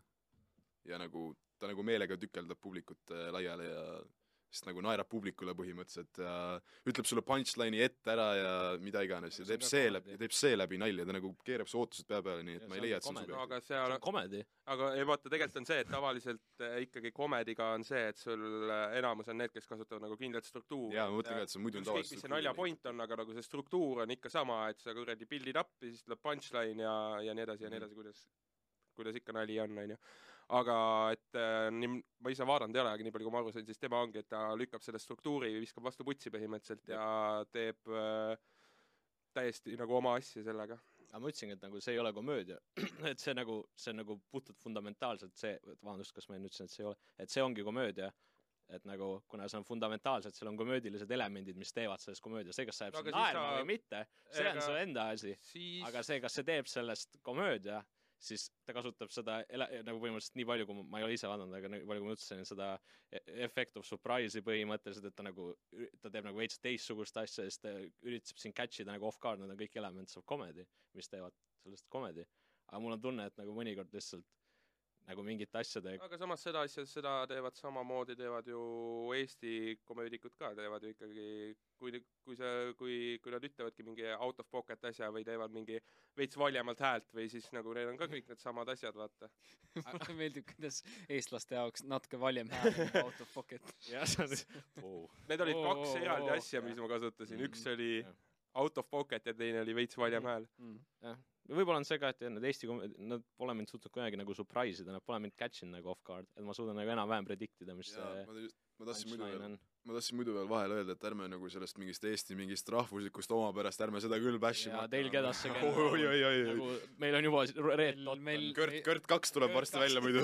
S1: ja nagu ta nagu meelega tükeldab publikut äh, laiali ja siis nagu naerab publikule põhimõtteliselt ja ütleb sulle punchline'i ette ära ja mida iganes ja
S3: See on
S1: teeb
S3: ka
S1: seeläbi ,
S3: comedy.
S1: teeb seeläbi nalja , ta nagu keerab su ootused pea peale , nii
S3: Ja
S1: et ma
S3: see
S1: ei
S3: on
S1: leia ,
S3: ka
S1: et see on
S3: comedy.
S1: subjektiivne .
S2: no aga seal
S3: komedi .
S2: aga ei vaata , tegelikult on see , et tavaliselt eh, ikkagi komediga on see , et sul eh, enamus on need , kes kasutavad nagu kindlat struktuuri .
S1: jaa , ma mõtlen ka , et see muidu on
S2: ükskõik ,
S1: tavaliselt
S2: mis see nalja point on , aga nagu see
S1: Mhm.
S2: struktuur on ikka sama , et sa kuradi build'id up'i , siis tuleb punchline ja , ja nii edasi ja nii edasi , kuidas kuidas ikka nali on , onju . aga et äh, nii , ma ise vaadanud ei ole , aga nii palju , kui ma aru sain , siis tema ongi , et ta lükkab selle struktuuri , viskab vastu putsi põhimõtteliselt ja teeb äh, täiesti nagu oma asja sellega .
S3: aga ma ütlesingi , et nagu see ei ole komöödia , et see nagu , see on nagu puhtalt fundamentaalselt see , vabandust , kas ma nüüd ütlesin , et see ei ole , et see ongi komöödia , et nagu kuna see on fundamentaalselt , seal on komöödilised elemendid , mis teevad sellest komöödia , see , kas see jääb
S2: No
S3: no,
S2: aga siis
S3: sind naerma
S2: sa-
S3: või mitte , see on
S2: ega-
S3: su enda asi ,
S2: siis
S3: aga see , kas see teeb sellest komöödia , siis ta kasutab seda ela- , nagu põhimõtteliselt nii palju , kui ma- ma ei ole ise vaadanud , aga nii palju , kui ma ütlesin , seda e- effect of surprise'i põhimõtteliselt , et ta nagu , ta teeb nagu veits teistsugust asja , siis ta üritab sind catch ida nagu off-guard , need on kõik elements of comedy , mis teevad sellest comedy . aga mul on tunne , et nagu mõnikord lihtsalt nagu mingite asjade
S2: aga samas seda asja , seda teevad samamoodi , teevad ju Eesti komöödikud ka , teevad ju ikkagi , kui , kui see , kui , kui nad ütlevadki mingi out of pocket asja või teevad mingi veits valjemalt häält või siis nagu neil on ka kõik needsamad asjad , vaata .
S4: mulle meeldib , kuidas eestlaste jaoks natuke valjem hääl on out of pocket .
S3: jah , see on oh.
S2: Need olid
S4: Oo,
S2: kaks
S4: oo,
S2: eraldi
S4: oo.
S2: asja , mis ma
S3: Mm,
S2: kasutasin , üks
S1: Mhm.
S2: oli
S1: Jah.
S2: out of pocket ja teine oli veits valjem hääl .
S3: Mm. jah , võib-olla on see ka , et jah, need Eesti , nad pole mind suutnud kunagi nagu surprise ida , nad pole mind catch inud nagu off-guard , et ma suudan nagu enam-vähem predict ida , mis
S1: jaa ,
S3: see
S1: ma just , ma tahtsin muidu
S3: punchline
S1: veel
S3: on .,
S1: ma tahtsin muidu veel vahele öelda , et ärme nagu sellest mingist Eesti mingist rahvuslikust omapärast , ärme seda küll bash
S3: ja teil kedas see käib
S1: oi , oi , oi , oi .
S3: nagu meil on juba Red
S4: Meil-
S3: Dot
S4: meil-
S3: meil...
S1: Kõrt , Kõrt kaks tuleb
S4: Kõrt
S1: varsti
S4: kaks.
S1: välja muidu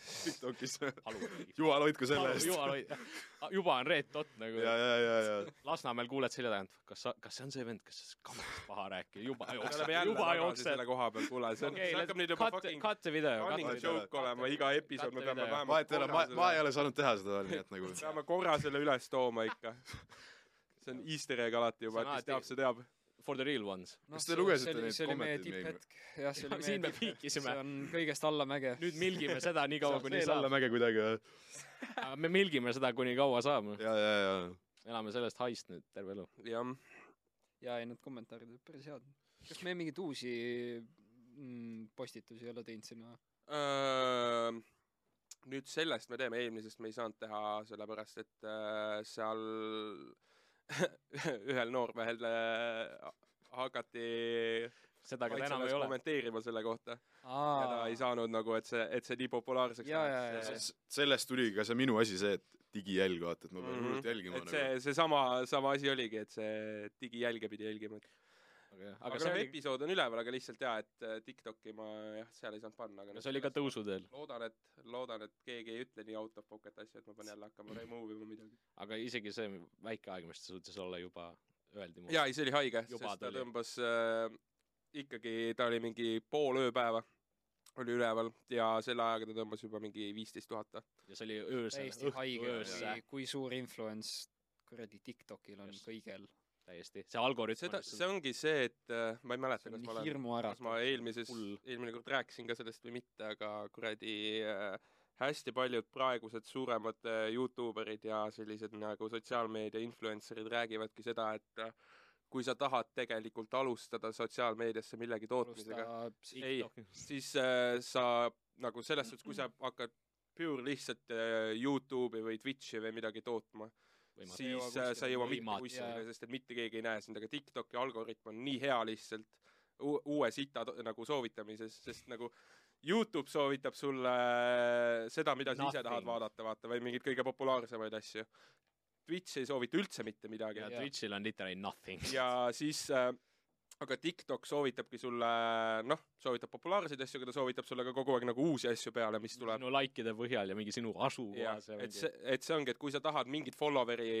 S1: Tiktokis .
S3: on
S1: jumal hoidku selle eest . ja ,
S3: Ah, juba on Red Dot nagu
S1: ja , ja , ja .
S3: Lasnamäel kuuled selja tagant , kas sa , kas see on see vend , kes kamast paha räägib , juba
S2: me
S3: jookseb
S2: oleme , jälle
S3: juba
S2: tagasi
S3: jookseb
S2: selle . koha peal , kuule , see on ,
S3: okei
S2: see , hakkab nüüd juba
S3: cut ,
S2: fucking
S3: cut see video ,
S2: running
S3: cut
S1: Kate-
S3: see video .
S2: joke olema , iga episood me
S3: Kate-
S2: peame
S3: video.
S2: vähemalt
S1: vahet ei ole , ma , ma
S2: selle-
S1: ei ole saanud teha seda veel , nii et nagu
S2: peame korra selle üles tooma ikka . see on easter egg alati juba ,
S3: See
S2: et
S3: on
S2: kes
S3: alati-
S2: teab , see teab .
S3: For the real ones .
S1: Kas te lugesite neid kommenteid meil?
S4: tipphetk , jah , see oli
S3: siin me
S4: meie tipp , see
S3: piikisime ,
S4: on kõigest allamäge .
S3: nüüd milgime seda nii kaua , kuni
S4: Saab
S3: saab .
S1: allamäge kuidagi või ?
S3: me milgime seda , kuni kaua saab .
S1: ja , ja , ja .
S3: elame sellest haist nüüd terve elu .
S2: jah ,
S4: ja ei , need kommentaarid olid päris head . kas me mingeid uusi mm, postitusi ei ole teinud sinna ?
S2: Äh, nüüd sellest me teeme , eelmisest me ei saanud teha , sellepärast et öö, seal ühel noormehel öö, hakati
S3: seda ka enam
S2: kaitseväes
S3: ei ole .
S2: kommenteerima selle kohta ja ta ei saanud nagu , et see , et see nii populaarseks
S4: Jaa, jaa, jaa.
S2: See-
S1: sellest tuligi ka see minu asi , see , et digijälg , vaata , et ma pean
S2: Mhm.
S1: hullult jälgima nagu-
S2: et see , seesama , sama asi oligi , et see digijälge pidi jälgima , et aga,
S3: aga
S2: aga
S3: see
S2: noh ,
S3: oli ,
S2: episood on üleval , aga lihtsalt jaa , et äh, TikTok'i ma jah , seal ei saanud panna , aga
S3: see oli ka . tõusuteel .
S2: loodan , et , loodan , et keegi ei ütle nii out of pocket asju , et ma pean jälle hakkama remove ima midagi .
S3: aga isegi see väike aeg , mis ta suutis olla juba , öeldi mulle .
S2: jaa , ei see oli haige , sest
S3: Juba
S2: ta
S3: tuli.
S2: tõmbas äh, ikkagi , ta oli mingi pool ööpäeva oli üleval ja selle ajaga ta tõmbas juba mingi viisteist tuhat .
S3: ja see oli öösel ,
S4: täiesti haige
S3: öösse ,
S4: kui suur influence kuradi Tiktokil on
S3: Just.
S4: kõigel .
S3: täiesti . see algoritm
S2: seda , see ongi see , et äh, ma ei mäleta ,
S4: see on
S2: kas ma olen kas
S4: hirmuäratav
S2: ma . eelmises
S3: Hull. ,
S2: eelmine kord rääkisin ka sellest või mitte , aga kuradi äh, hästi paljud praegused suuremad äh, Youtuberid ja sellised nagu sotsiaalmeedia influencer'id räägivadki seda , et äh, kui sa tahad tegelikult alustada sotsiaalmeediasse millegi tootmisega , ei , siis äh, sa nagu selles suhtes , kui sa hakkad pure lihtsalt äh, Youtube'i või Twitch'i või midagi tootma ,
S3: on
S2: siis
S4: Ei jõua
S2: äh, sa ei jõua mitte
S3: Võimatu.
S2: kuskile
S4: Jaa. ,
S2: sest et mitte keegi ei näe sind , aga TikToki algoritm on nii hea lihtsalt u- uue sita to- nagu soovitamises , sest nagu Youtube soovitab sulle äh, seda , mida sa ise
S3: Nothing.
S2: tahad vaadata , vaata , või mingeid kõige populaarsemaid asju . Twitch ei soovita üldse mitte midagi
S3: ja
S4: Jaa.
S3: Twitch'il on literally nothing .
S2: ja siis äh, aga TikTok soovitabki sulle , noh , soovitab populaarseid asju , aga ta soovitab sulle ka kogu aeg nagu uusi asju peale , mis tuleb .
S3: sinu likeide põhjal ja mingi sinu
S2: jah
S3: asukohas ,
S2: et see , et see ongi , et kui sa tahad mingit follower'i ,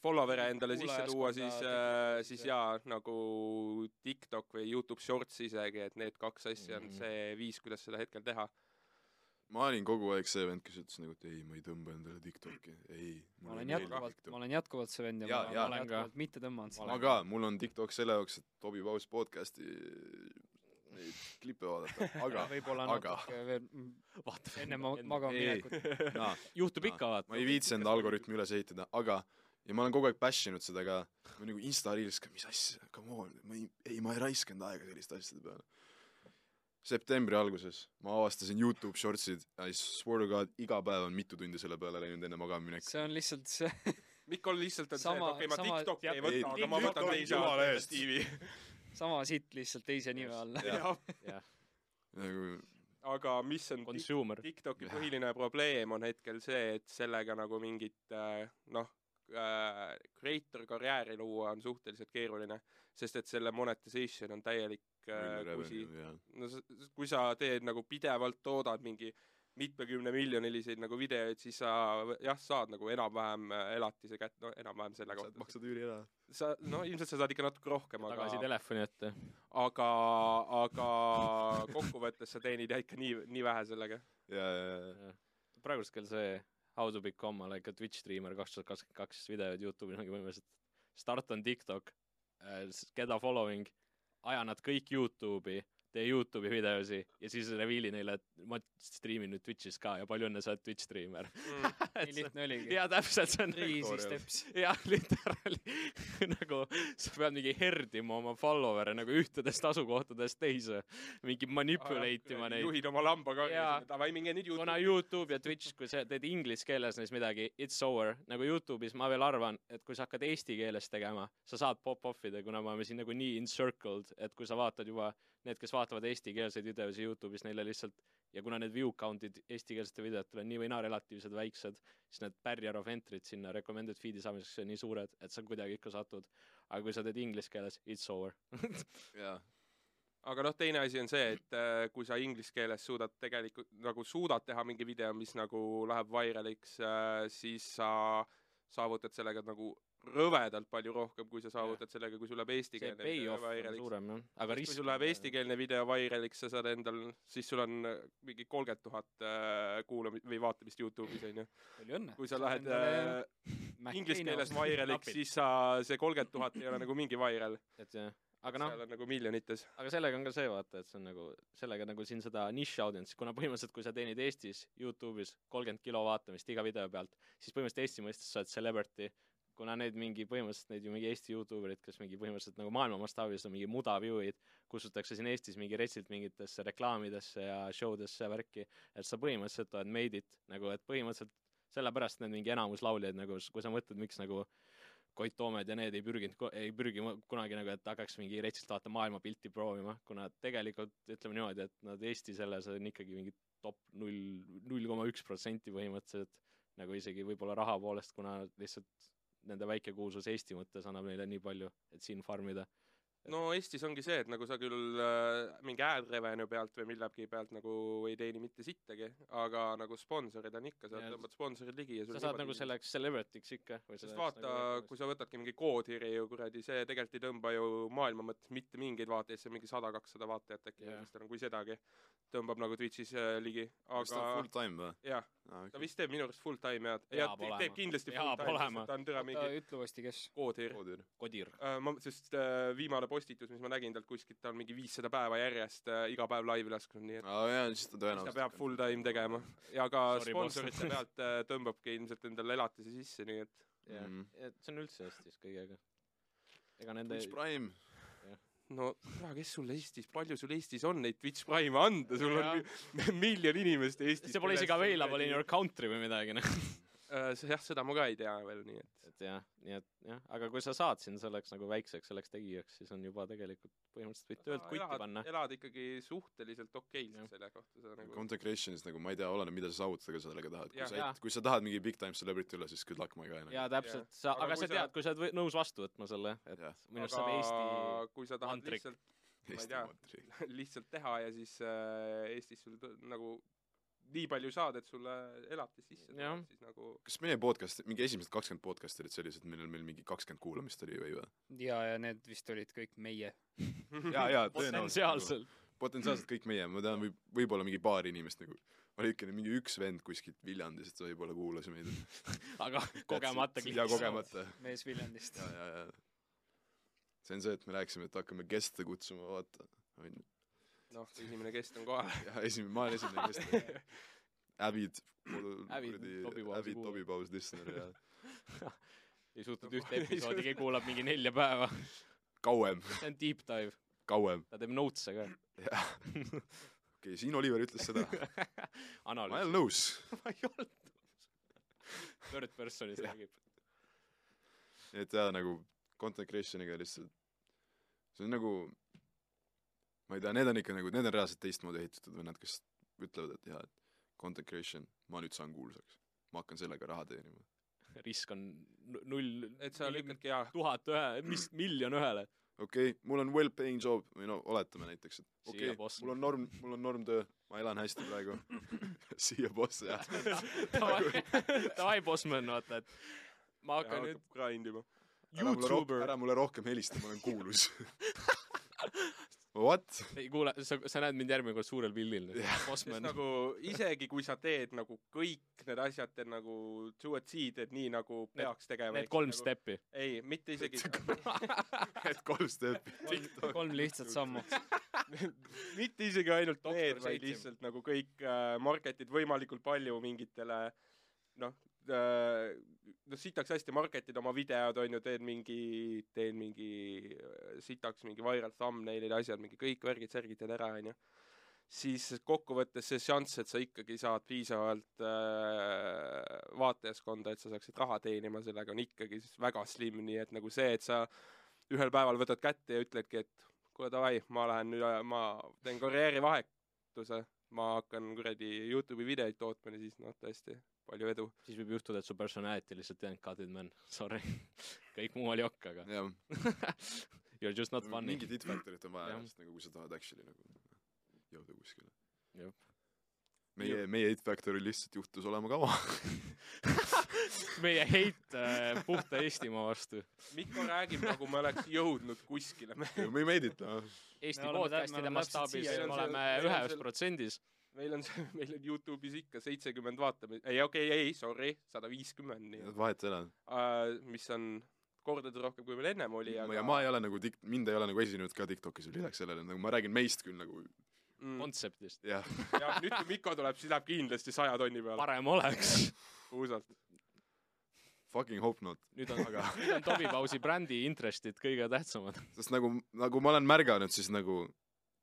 S2: follower'e endale sisse tuua , siis eh,
S4: Kuulajaskonda ,
S2: siis
S4: tekitada,
S2: jaa , nagu TikTok või Youtube Shorts isegi , et need kaks asja on
S3: Mhm.
S2: see viis , kuidas seda hetkel teha .
S1: ma olin kogu aeg see vend , kes ütles nagu , et ei , ma ei tõmba endale Tiktoki , ei .
S4: ma olen jätkuvalt , ma olen jätkuvalt see vend ja,
S1: Jaa, jaa.
S4: ma, ma olen
S3: Olen ka.
S4: jätkuvalt mitte tõmmanud
S1: ma
S4: seda .
S1: ka , mul on Tiktok selle jaoks , et Tobi Paus podcast'i neid klippe vaadata , aga
S4: võib-olla
S1: aga-
S4: natuke veel mm,
S3: vaata ,
S4: enne ma-
S1: Ei.
S4: magama minekut .
S1: naa ,
S3: juhtub ikka , vaata .
S1: ma ei viitsi enda algoritmi üles ehitada , aga ja ma olen kogu aeg bash inud seda ka , ma nagu insta reels ka , mis asja , come on , ma ei , ei ma ei raiskanud aega selliste asjade peale . septembri alguses ma avastasin Youtube shortsid , I swear to god , iga päev on mitu tundi selle peale läinud enne magamaminekut .
S4: see on lihtsalt see ,
S2: Mikol lihtsalt on see , et
S4: Sama-
S2: okei , ma
S4: sama-
S2: TikTok'i ei
S1: Ei,
S2: võta , aga ma
S1: TikTok
S2: võtan
S1: on
S2: teise
S1: jumala eest.
S2: alternatiivi .
S4: sama sitt lihtsalt teise nime all .
S1: jah ,
S3: jah ,
S1: nagu
S2: aga mis on Tik-
S3: consumer .
S2: TikToki
S1: Jah.
S2: põhiline probleem on hetkel see , et sellega nagu mingit äh, noh , creator karjääri luua on suhteliselt keeruline , sest et selle monetization on täielik äh, kusi .
S1: revenue ja
S2: no s- s- kui sa teed nagu pidevalt toodad mingi mitmekümne miljoniliseid nagu videoid , siis sa v- jah , saad nagu enam-vähem äh, elatise kätte , no enam-vähem selle
S1: saad ,
S2: kohta .
S1: maksad üüri ära .
S2: sa , no ilmselt sa saad ikka natuke rohkem , aga
S3: tagasi telefoni ette .
S2: aga , aga kokkuvõttes sa teenid jah ikka nii , nii vähe sellega .
S1: ja , ja ,
S3: praegust küll see How to become like a Twitch streamer kaks tuhat kakskümmend kaks videod Youtube'il ongi põhimõtteliselt start on TikTok , get a following , aja nad kõik Youtube'i , tee Youtube'i videosi ja siis reveal'i neile , et ma striimin nüüd Twitch'is ka ja palju õnne , sa oled Twitch streamer .
S2: Mm.
S4: nii lihtne oligi .
S3: ja täpselt , see on nagu
S4: Three easy
S1: tutorial.
S4: steps .
S3: jah , literaali nagu sa pead mingi herdima oma follower'e nagu ühtedest asukohtadest teise , mingi manipulate ima neid .
S2: juhid oma lambaga
S3: Jaa. ,
S2: davai , minge nüüd
S3: kuna
S2: Youtube'i .
S3: Youtube ja Twitch , kui sa teed inglise keeles neis midagi , it's over , nagu Youtube'is ma veel arvan , et kui sa hakkad eesti keeles tegema , sa saad pop-off ida , kuna me oleme siin nagu nii encircled , et kui sa vaatad juba , need , kes vaatavad eestikeelseid videosi Youtube'is , neile lihtsalt ja kuna need view count'id eestikeelsetel videotel on nii või naa relatiivselt väiksed , siis need barrier of entry'd sinna recommended feed'i saamiseks on nii suured , et sa kuidagi ikka satud . aga kui sa teed inglise keeles , it's over .
S1: ja .
S2: aga noh , teine asi on see , et äh, kui sa inglise keeles suudad tegelikult nagu suudad teha mingi video , mis nagu läheb vairaliks , siis sa saavutad sellega nagu rõvedalt palju rohkem , kui sa saavutad sellega , kui sul läheb
S3: see
S2: eestikeelne video
S3: payoff on
S2: vairaliks .
S3: suurem jah , aga risk .
S2: kui sul läheb eestikeelne video vairaliks , sa saad endal , siis sul on äh, mingi kolmkümmend tuhat kuulamist või vaatamist Youtube'is onju .
S4: palju õnne .
S2: kui sa lähed äh, inglise keeles vairaliks ,
S3: Napid.
S2: siis sa , see kolmkümmend tuhat ei ole nagu mingi vairal ,
S3: et jah , aga noh
S2: seal . on nagu miljonites .
S3: aga sellega on ka see vaata , et see on nagu , sellega nagu siin seda nišš audientsi , kuna põhimõtteliselt kui sa teenid Eestis Youtube'is kolmkümmend kilo vaatamist iga video pealt , siis põhimõtteliselt Eesti mõistes sa oled celebrity , kuna need mingi põhimõtteliselt neid ju mingi Eesti Youtube erid , kes mingi põhimõtteliselt nagu maailma mastaabis on mingi muda view'id , kutsutakse siin Eestis mingi retsilt mingitesse reklaamidesse ja show desse ja värki , et sa põhimõtteliselt oled made it nagu , et põhimõtteliselt sellepärast need mingi enamus lauljaid nagu , kui sa mõtled , miks nagu Koit Toomed ja need ei pürginud , ei pürgi mu- kunagi nagu , et hakkaks mingi retsilt vaata maailmapilti proovima , kuna tegelikult ütleme niimoodi , et nad Eesti selles on ikkagi mingi top null , null koma üks protsenti põhimõtteliselt , nagu isegi võib-olla raha poolest , kuna lihtsalt nende väike kuulsus Eesti mõttes annab neile nii palju , et siin farmida .
S2: no Eestis ongi see , et nagu sa küll äh, mingi ad revenue pealt või millegi pealt nagu ei teeni mitte sittagi , aga nagu sponsorid on ikka , sa
S3: Ja-
S2: tõmbad sponsorid ligi ja sul
S3: sa saad
S2: niimoodi-
S3: nagu selleks celebrity'ks ikka või
S2: sest
S3: selleks
S2: vaata
S3: nagu ,
S2: kui sa võtadki mingi koodhiri ju kuradi , see tegelikult ei tõmba ju maailma mõttes mitte mingeid vaatajaid , see on mingi sada-kakssada vaatajat äkki
S3: Jah.
S2: yeah. , kui sedagi , tõmbab nagu Twitch'is äh, ligi ,
S1: kas ta
S2: aga
S1: on full time või ?
S2: jah ,
S1: aa ,
S2: ta
S1: okei .
S2: vist teeb minu arust full time ja , ja
S3: Peab
S2: te-
S3: olema.
S2: teeb kindlasti
S3: Peab
S2: full time ,
S3: olema.
S2: sest ta on türa
S4: mingi .
S2: mingi
S4: ütle uuesti , kes .
S2: koodhir .
S1: koodüür .
S3: kodir .
S2: ma , sest äh, viimane postitus , mis ma nägin talt kuskilt , ta on mingi viissada päeva järjest äh, iga päev laivi lasknud , nii et
S1: aa Ah, jaa , siis ta
S2: siis ta
S1: tõenäoliselt .
S2: peab full time tegema . ja ka
S3: Sorry, boss.
S2: sponsorite pealt äh, tõmbabki ilmselt endale elatise sisse , nii et
S3: jah
S1: Mhm. ,
S3: et see on üldse Eestis kõigega . ega nende
S1: Twitch Prime .
S2: no kurat , kes sul Eestis , palju sul Eestis on neid Twitch Prime'e anda , sul on mi- miljon inimest Eestis .
S3: see pole isegi available in your country või midagi , noh .
S2: Äh, jah , seda ma ka ei tea veel , nii et
S3: et jah , nii et jah , aga kui sa saad sind selleks nagu väikseks selleks tegijaks , siis on juba tegelikult põhimõtteliselt võid töölt kutti
S2: elad-
S3: panna .
S2: elad ikkagi suhteliselt
S3: Jah.
S2: okeilt selle kohta , sa nagu
S1: Content creation'is nagu ma ei tea , oleneb , mida sa saavutada sellega tahad . kui
S2: Jah.
S1: sa , kui sa tahad mingi big time celebrity olla , siis good luck , ma ei kaela .
S3: jaa , täpselt , sa ,
S2: Aga
S3: aga
S2: kui
S3: sa
S2: sa-
S3: tead , kui sa oled või- nõus vastu võtma selle , et
S1: Jah.
S3: minu arust saab Eesti
S2: kui sa tahad
S3: mantrik.
S2: lihtsalt , tea. lihtsalt teha ja siis äh, Eestis sul tõ- nagu nii palju saad , et sulle elatis sisse
S3: Jah.
S2: tuleb , siis nagu
S1: kas meie podcast , mingi esimesed kakskümmend podcast'i olid sellised , millel meil mingi kakskümmend kuulamist oli või või ?
S4: ja , ja need vist olid kõik meie .
S1: jaa , jaa , tõenäoliselt .
S3: potentsiaalselt .
S1: potentsiaalselt kõik meie , ma tean , võib , võib-olla mingi paar inimest nagu , ma lõikan mingi üks vend kuskilt Viljandist võib-olla kuulas meid .
S3: aga kogemata
S1: jaa , kogemata .
S4: mees Viljandist .
S1: jaa , jaa , jaa . see on see , et me rääkisime , et hakkame gäste kutsuma , vaata , on ju .
S2: noh , esimene kest on kohal .
S1: jaa , esimene , ma olen esimene gäst . Avid ,
S3: Avid Toby Pausi
S1: Avid
S3: kuulaja.
S1: Toby Paus listener ja
S3: ei suutnud ühte episoodi , keegi kuulab mingi nelja päeva .
S1: kauem ,
S3: see on deep dive ,
S1: kauem .
S3: ta teeb notes'e ka .
S1: jah . okei , Siim Oliver ütles seda . ma
S3: analüüs .
S1: olen nõus .
S3: ma ei olnud . Third person'is
S1: Jah.
S3: räägib .
S1: et jaa , nagu content creation'iga lihtsalt , see on nagu , ma ei tea , need on ikka nagu , need on reaalselt teistmoodi ehitatud vennad , kes ütlevad , et jaa , et content creation , ma nüüd saan kuulsaks . ma hakkan sellega raha teenima .
S3: risk on nu- null ,
S2: et sa lükkadki jah ,
S3: tuhat ühe , mis , miljon ühele .
S1: okei okay, , mul on well paying job või no oletame näiteks , et
S3: Siia
S1: okei okay,
S3: boss. ,
S1: mul on norm , mul on normtöö , ma elan hästi praegu . siia boss jah .
S3: davai ,
S2: Nagu-
S3: davai , bossman , vaata , et ma hakkan
S2: hakkab
S3: nüüd
S2: grind ima . nagu
S3: Youtuber ,
S1: ära mulle rohkem helista , ma olen kuulus . What ?
S3: ei kuule , sa , sa näed mind järgmine kord suurel pildil nüüd ,
S2: sest
S3: bossman .
S2: nagu isegi kui sa teed nagu kõik need asjad , teed nagu to at sea , teed nii nagu peaks tegema .
S3: Need kolm . steppi .
S2: ei , mitte isegi ,
S1: et kolm steppi .
S4: kolm lihtsat sammu .
S2: mitte isegi ainult
S3: Doktor
S2: need , vaid
S3: seitse.
S2: lihtsalt nagu kõik äh, market'id võimalikult palju mingitele noh äh, , no sitaks hästi market'id oma videod on ju , teed mingi , teed mingi äh, sitaks mingi viral thumbnail'id , asjad , mingi kõik värgid-särgid teed ära , on ju . siis kokkuvõttes see šanss , et sa ikkagi saad piisavalt äh, vaatajaskonda , et sa saaksid raha teenima sellega , on ikkagi siis väga slim , nii et nagu see , et sa ühel päeval võtad kätte ja ütledki , et kuule davai , ma lähen nüüd , ma teen karjäärivahetuse , ma hakkan kuradi Youtube'i videoid tootma ja siis noh , tõesti , palju edu .
S3: siis võib juhtuda , et su personality lihtsalt ei olnud cutted man , sorry . kõik muu oli okk , aga
S1: jah ,
S3: you are just not funny .
S1: mingit it factor'it on vaja
S3: Jah. ,
S1: sest nagu kui sa tahad actually nagu jõuda kuskile .
S3: Jah.
S1: meie , meie it factor lihtsalt juhtus olema kava .
S3: meie heit äh, puhta Eestimaa vastu .
S2: Mikko räägib , nagu me oleks jõudnud kuskile .
S1: me ei meedita .
S3: Eesti
S4: Me oleme tä- me oleme
S3: podcast'ide
S4: täpselt
S3: mastaabis
S4: siia
S3: me
S2: jõudnud.
S3: oleme
S2: Meil on seal-
S3: ühes protsendis .
S2: meil on see , meil on Youtube'is ikka seitsekümmend vaatamist , ei okei okay, , ei sorry , sada viiskümmend , nii et
S1: vahet ei ole .
S2: uh, mis on kordades rohkem , kui meil ennem oli ,
S1: ja
S2: aga
S1: ma ei ole nagu tik- , mind ei ole nagu esinenud ka TikTokis veel lisaks sellele , nagu ma räägin meist küll nagu
S2: mm,
S3: kontseptist .
S1: jah ,
S2: ja nüüd , kui Mikko tuleb , siis läheb kindlasti saja tonni peale ,
S3: parem oleks .
S2: puusalt .
S1: fucking hope not .
S3: nüüd on ,
S1: Aga-
S3: nüüd on Tobi Pausi brändi interest'id kõige tähtsamad .
S1: sest nagu , nagu ma olen märganud , siis nagu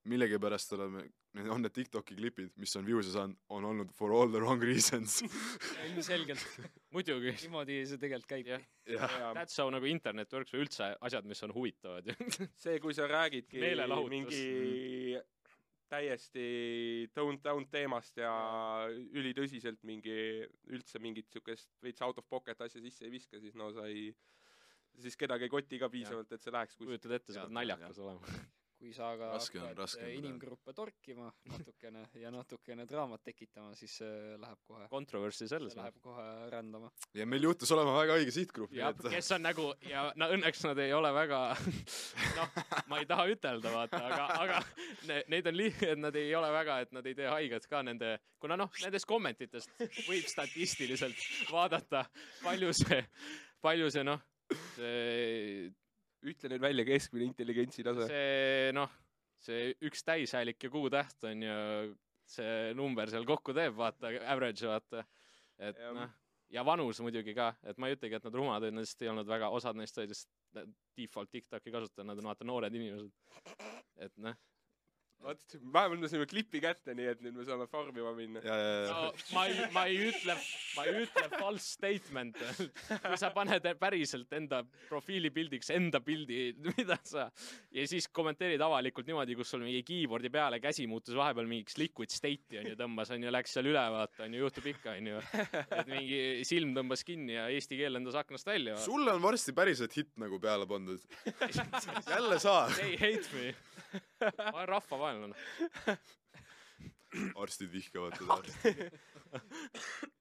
S1: millegipärast oleme , on need TikToki klipid , mis on views'e saanud , on olnud for all the wrong reasons .
S4: ilmselgelt ,
S3: muidugi .
S4: niimoodi see tegelikult käib .
S3: jah ,
S1: jah ,
S3: that's how nagu internet works või üldse asjad , mis on huvitavad ju .
S2: see , kui sa räägidki
S3: Meelelahutus.
S2: mingi täiesti down-down teemast ja ülitõsiselt mingi , üldse mingit siukest veits out of pocket asja sisse ei viska , siis no sa ei , siis kedagi ei koti ka piisavalt , et see läheks kuskile .
S3: kujutad ette , sa
S1: Jaa,
S3: pead naljakas olema .
S4: kui sa aga
S1: Raske on,
S4: hakkad
S1: raske on
S4: eh,
S1: midagi.
S4: inimgruppe torkima natukene ja natukene draamat tekitama , siis see läheb kohe ,
S3: Controversy selles
S4: see läheb kohe rändama .
S1: ja meil juhtus olema väga õige sihtgrupp ,
S3: jah ,
S1: nii et
S3: kes on nagu ja no õnneks nad ei ole väga noh , ma ei taha ütelda , vaata , aga , aga ne, neid on lihtne , et nad ei ole väga , et nad ei tee haiget ka nende , kuna noh , nendest kommentitest võib statistiliselt vaadata , palju see , palju see noh , see ,
S2: ütle nüüd välja keskmine intelligentsi tase .
S3: see noh , see üks täishäälik ja kuutäht on ju see number seal kokku teeb , vaata , average , vaata . et
S2: Jah.
S3: noh , ja vanus muidugi ka , et ma ei ütlegi , et nad rumalad olid , nad lihtsalt ei olnud väga , osad neist olid lihtsalt default TikToki kasutajad , nad on vaata noored inimesed . et noh
S2: vot , vähemalt me saime klipi kätte , nii et nüüd me saame farmima minna .
S1: ja , ja , ja
S3: no, , ma ei , ma ei ütle , ma ei ütle false statement . kui sa paned päriselt enda profiilipildiks enda pildi , mida sa ja siis kommenteerid avalikult niimoodi , kus sul mingi keyboard'i peale käsi muutus vahepeal mingiks liquid state'i onju tõmbas onju , läks seal üle vaata onju , juhtub ikka onju . et mingi silm tõmbas kinni ja eesti keel lendas aknast välja .
S1: sulle on varsti päriselt hitt nagu peale pandud . jälle sa ,
S3: They hate me . ma olen rahvavaenlane .
S1: arstid vihkavad teda .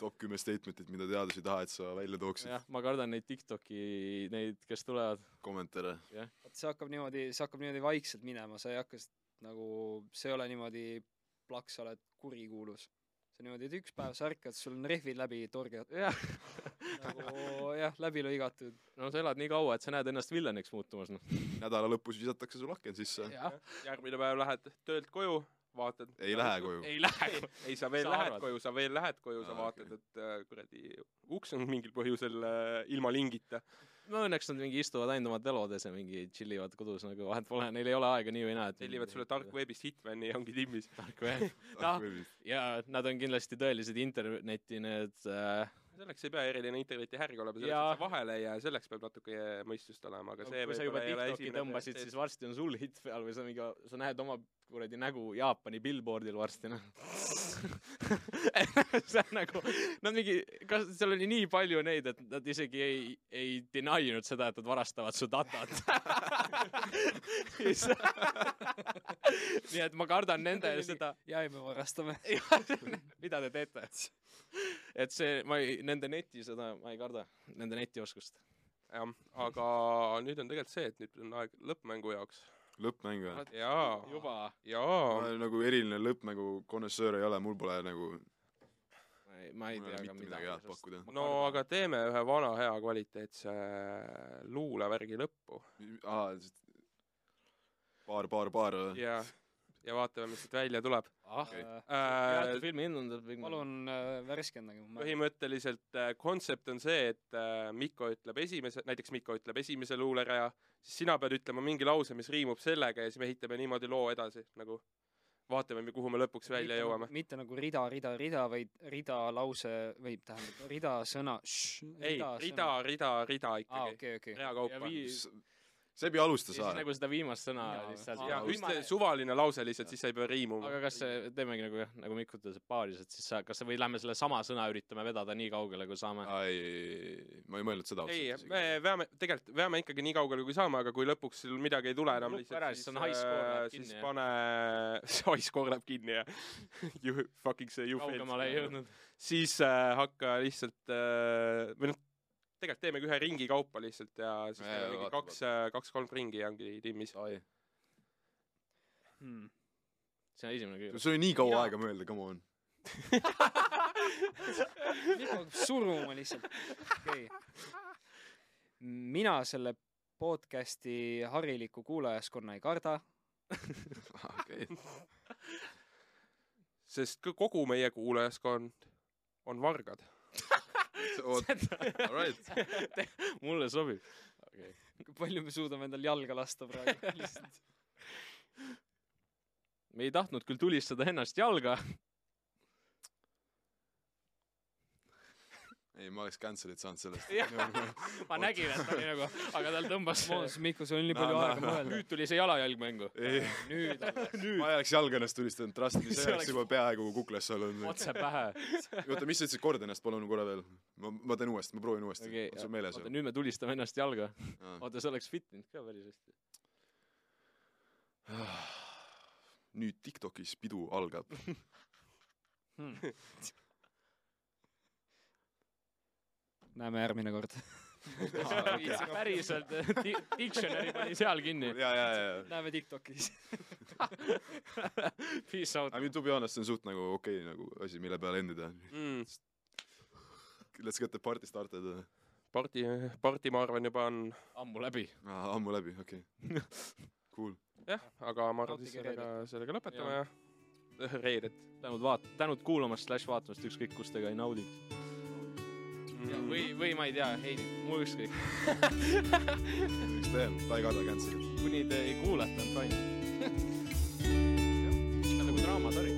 S1: top kümme statement'it , mida teadus ei taha , et sa välja tooksid .
S3: jah , ma kardan neid Tiktoki , neid , kes tulevad .
S1: kommentaare .
S4: vot see hakkab niimoodi , see hakkab niimoodi vaikselt minema , sa ei hakka s- nagu , see ei ole niimoodi plaks , sa oled kurikuulus . see on niimoodi , et üks päev sa ärkad , sul on rehvid läbi torged ,
S3: jah ,
S4: nagu jah , läbi lõigatud .
S3: no sa elad nii kaua , et sa näed ennast villaniks muutumas noh .
S1: nädala lõpus visatakse sul aken sisse .
S2: järgmine päev lähed töölt koju , vaatad .
S1: ei lähe koju .
S3: ei lähe
S2: ei , sa veel
S3: Sa
S2: sa lähed
S3: arvad?
S2: arvad. koju , sa veel lähed koju , sa
S1: Aa,
S2: vaatad , et äh, kuradi uks on mingil põhjusel äh, ilma lingita .
S3: no õnneks nad mingi istuvad ainult oma telodes ja mingi tšillivad kodus nagu vahet pole , neil ei ole aega nii või naa , et
S2: tellivad sulle tarkveebist Hitmani ja ongi timmis .
S1: Ah,
S3: tark või . noh , ja nad on kindlasti tõelised interneti need äh,
S2: selleks ei pea eriline interneti härg olema , selleks
S3: Jaa.
S2: et sa vahele ei jää , selleks peab natuke mõistust olema , aga see
S3: kui sa juba
S2: võib-olla ei ole
S3: TikToki
S2: esimene
S3: tõmbasid ,
S2: test.
S3: siis varsti on sul hitt peal või sa mingi , sa näed oma kuradi nägu Jaapani billboardil varsti , noh . see on nagu , nad mingi , kas seal oli nii palju neid , et nad isegi ei , ei deny inud seda , et nad varastavad su datat . nii et ma kardan nende seda ,
S4: jaa , ei me varastame .
S3: mida te teete . et see , ma ei , nende neti seda , ma ei karda , nende netioskust .
S2: jah , aga nüüd on tegelikult see , et nüüd on aeg lõppmängu jaoks .
S1: lõppmäng või ?
S2: jaa ,
S3: juba .
S1: ma
S2: jaa ,
S1: nagu eriline lõppmängu konessöör ei ole , mul pole nagu
S3: ma ei
S1: Mul ei ole
S3: tea
S1: mitte
S3: ka
S1: midagi head
S3: midagi
S1: pakkuda.
S2: no aga teeme ühe vana hea kvaliteetse luulevärgi lõppu
S1: aa , paar , paar , paar või ?
S2: ja , ja vaatame , mis siit välja tuleb
S3: ah ,
S2: äh, .
S3: teate filmi hinnanud , et
S4: palun äh, värskendage mu mälu .
S2: põhimõtteliselt äh, kontsept on see , et äh, Mikko ütleb esimese , näiteks Mikko ütleb esimese luulereja , siis sina pead ütlema mingi lause , mis riimub sellega ja siis me ehitame niimoodi loo edasi , nagu vaatame , kuhu me lõpuks välja jõuame .
S4: mitte nagu rida , rida , rida , vaid rida lause või tähendab rida sõna .
S2: ei , rida , rida , rida
S4: aa ,
S2: ikkagi ,
S4: okei , okei .
S2: rea
S3: ja
S2: kaupa .
S3: vii- ,
S1: seebi alusta
S3: ja
S1: saa
S3: siis . nagu seda viimast sõna
S4: Jaa,
S3: lihtsalt
S4: jaa,
S2: ja
S4: Aa,
S2: üsna
S4: viimane-
S2: suvaline lause lihtsalt , siis sa ei pea riimuma
S3: aga . kas see , teemegi nagu jah , nagu Mikk ütles , et paaris , et siis sa , kas või lähme selle sama sõna üritame vedada nii kaugele , kui saame .
S1: aa , ei , ei , ei , ma ei mõelnud seda
S2: ei , me veame , tegelikult veame ikkagi nii kaugele , kui saame , aga kui lõpuks sul midagi ei tule enam
S3: Lõpp
S2: lihtsalt ,
S3: ära, siis
S2: siis,
S3: on high score läheb
S2: äh,
S3: kinni,
S2: siis
S3: jah.
S2: pane , see high score läheb kinni ja you fucking see you failed
S3: kaugemale ei . jõudnud .
S2: siis äh, hakka lihtsalt äh, või noh , tegelikult teemegi ühe ringi kaupa lihtsalt ja siis
S1: Jaa,
S2: teeme
S1: jaa,
S2: mingi
S1: vaata,
S2: kaks , kaks-kolm ringi ja ongi tiimis .
S1: sul
S4: Hmm.
S3: see on esimene kõige .
S1: oli nii kaua aega mõelda , come on .
S4: Mikko hakkab suruma lihtsalt . okei okay. . mina selle podcasti harilikku kuulajaskonna ei karda .
S1: okei .
S2: sest ka kogu meie kuulajaskond on vargad .
S1: oot , all right .
S3: mulle sobib okay. .
S4: kui palju me suudame endal jalga lasta praegu lihtsalt .
S3: me ei tahtnud küll tulistada ennast jalga .
S1: ei , ma oleks cancel'it saanud sellest .
S3: ma nägin , et ta oli nagu , aga tal tõmbas .
S4: Moos , Mikko , sul on nii palju
S1: Näe,
S4: aega
S1: näe,
S4: mõelda .
S3: nüüd tuli see jalajälg mängu .
S1: ei ,
S4: nüüd alles .
S1: ma ei oleks jalga ennast tulistanud , trust me , see
S3: See oleks-
S1: oleks juba peaaegu kuklasse olnud .
S3: otse pähe .
S1: oota , mis sa ütlesid , korda ennast palun korra veel . ma , ma teen uuesti , ma proovin uuesti
S3: okei
S1: okay, . on sul meeles
S3: oota ,
S1: või ?
S3: nüüd me tulistame ennast jalga .
S1: Aa.
S3: oota , see oleks fit inud ka päris hästi .
S1: nüüd Tiktokis pidu algab .
S4: näeme järgmine kord .
S1: Ah,
S3: päriselt , diktsionäri pani seal kinni
S1: ja ,. ja , ja , ja .
S4: näeme Tiktokis .
S3: Peace out
S1: I . mean to be honest , see on suht nagu okei okay, nagu asi , mille peale endida .
S2: mm, .
S1: Let's get the party started .
S2: parti , parti ma arvan juba on
S3: ammu läbi .
S1: ammu läbi , okei okay. . Cool .
S2: jah , aga ma arvan , siis
S4: Nautige
S2: sellega , sellega lõpetame ja, ja. reedet
S3: tänud vaat- , tänud kuulamast , slaš vaatamast , ükskõik kus te ka ei naudi .
S2: mm. .
S3: või , või ma ei tea , ei , mul ükskõik .
S1: eks ta jääb , ta ei karda cancel'it .
S3: kuni te ei kuulata , on fine . see on nagu draamasari .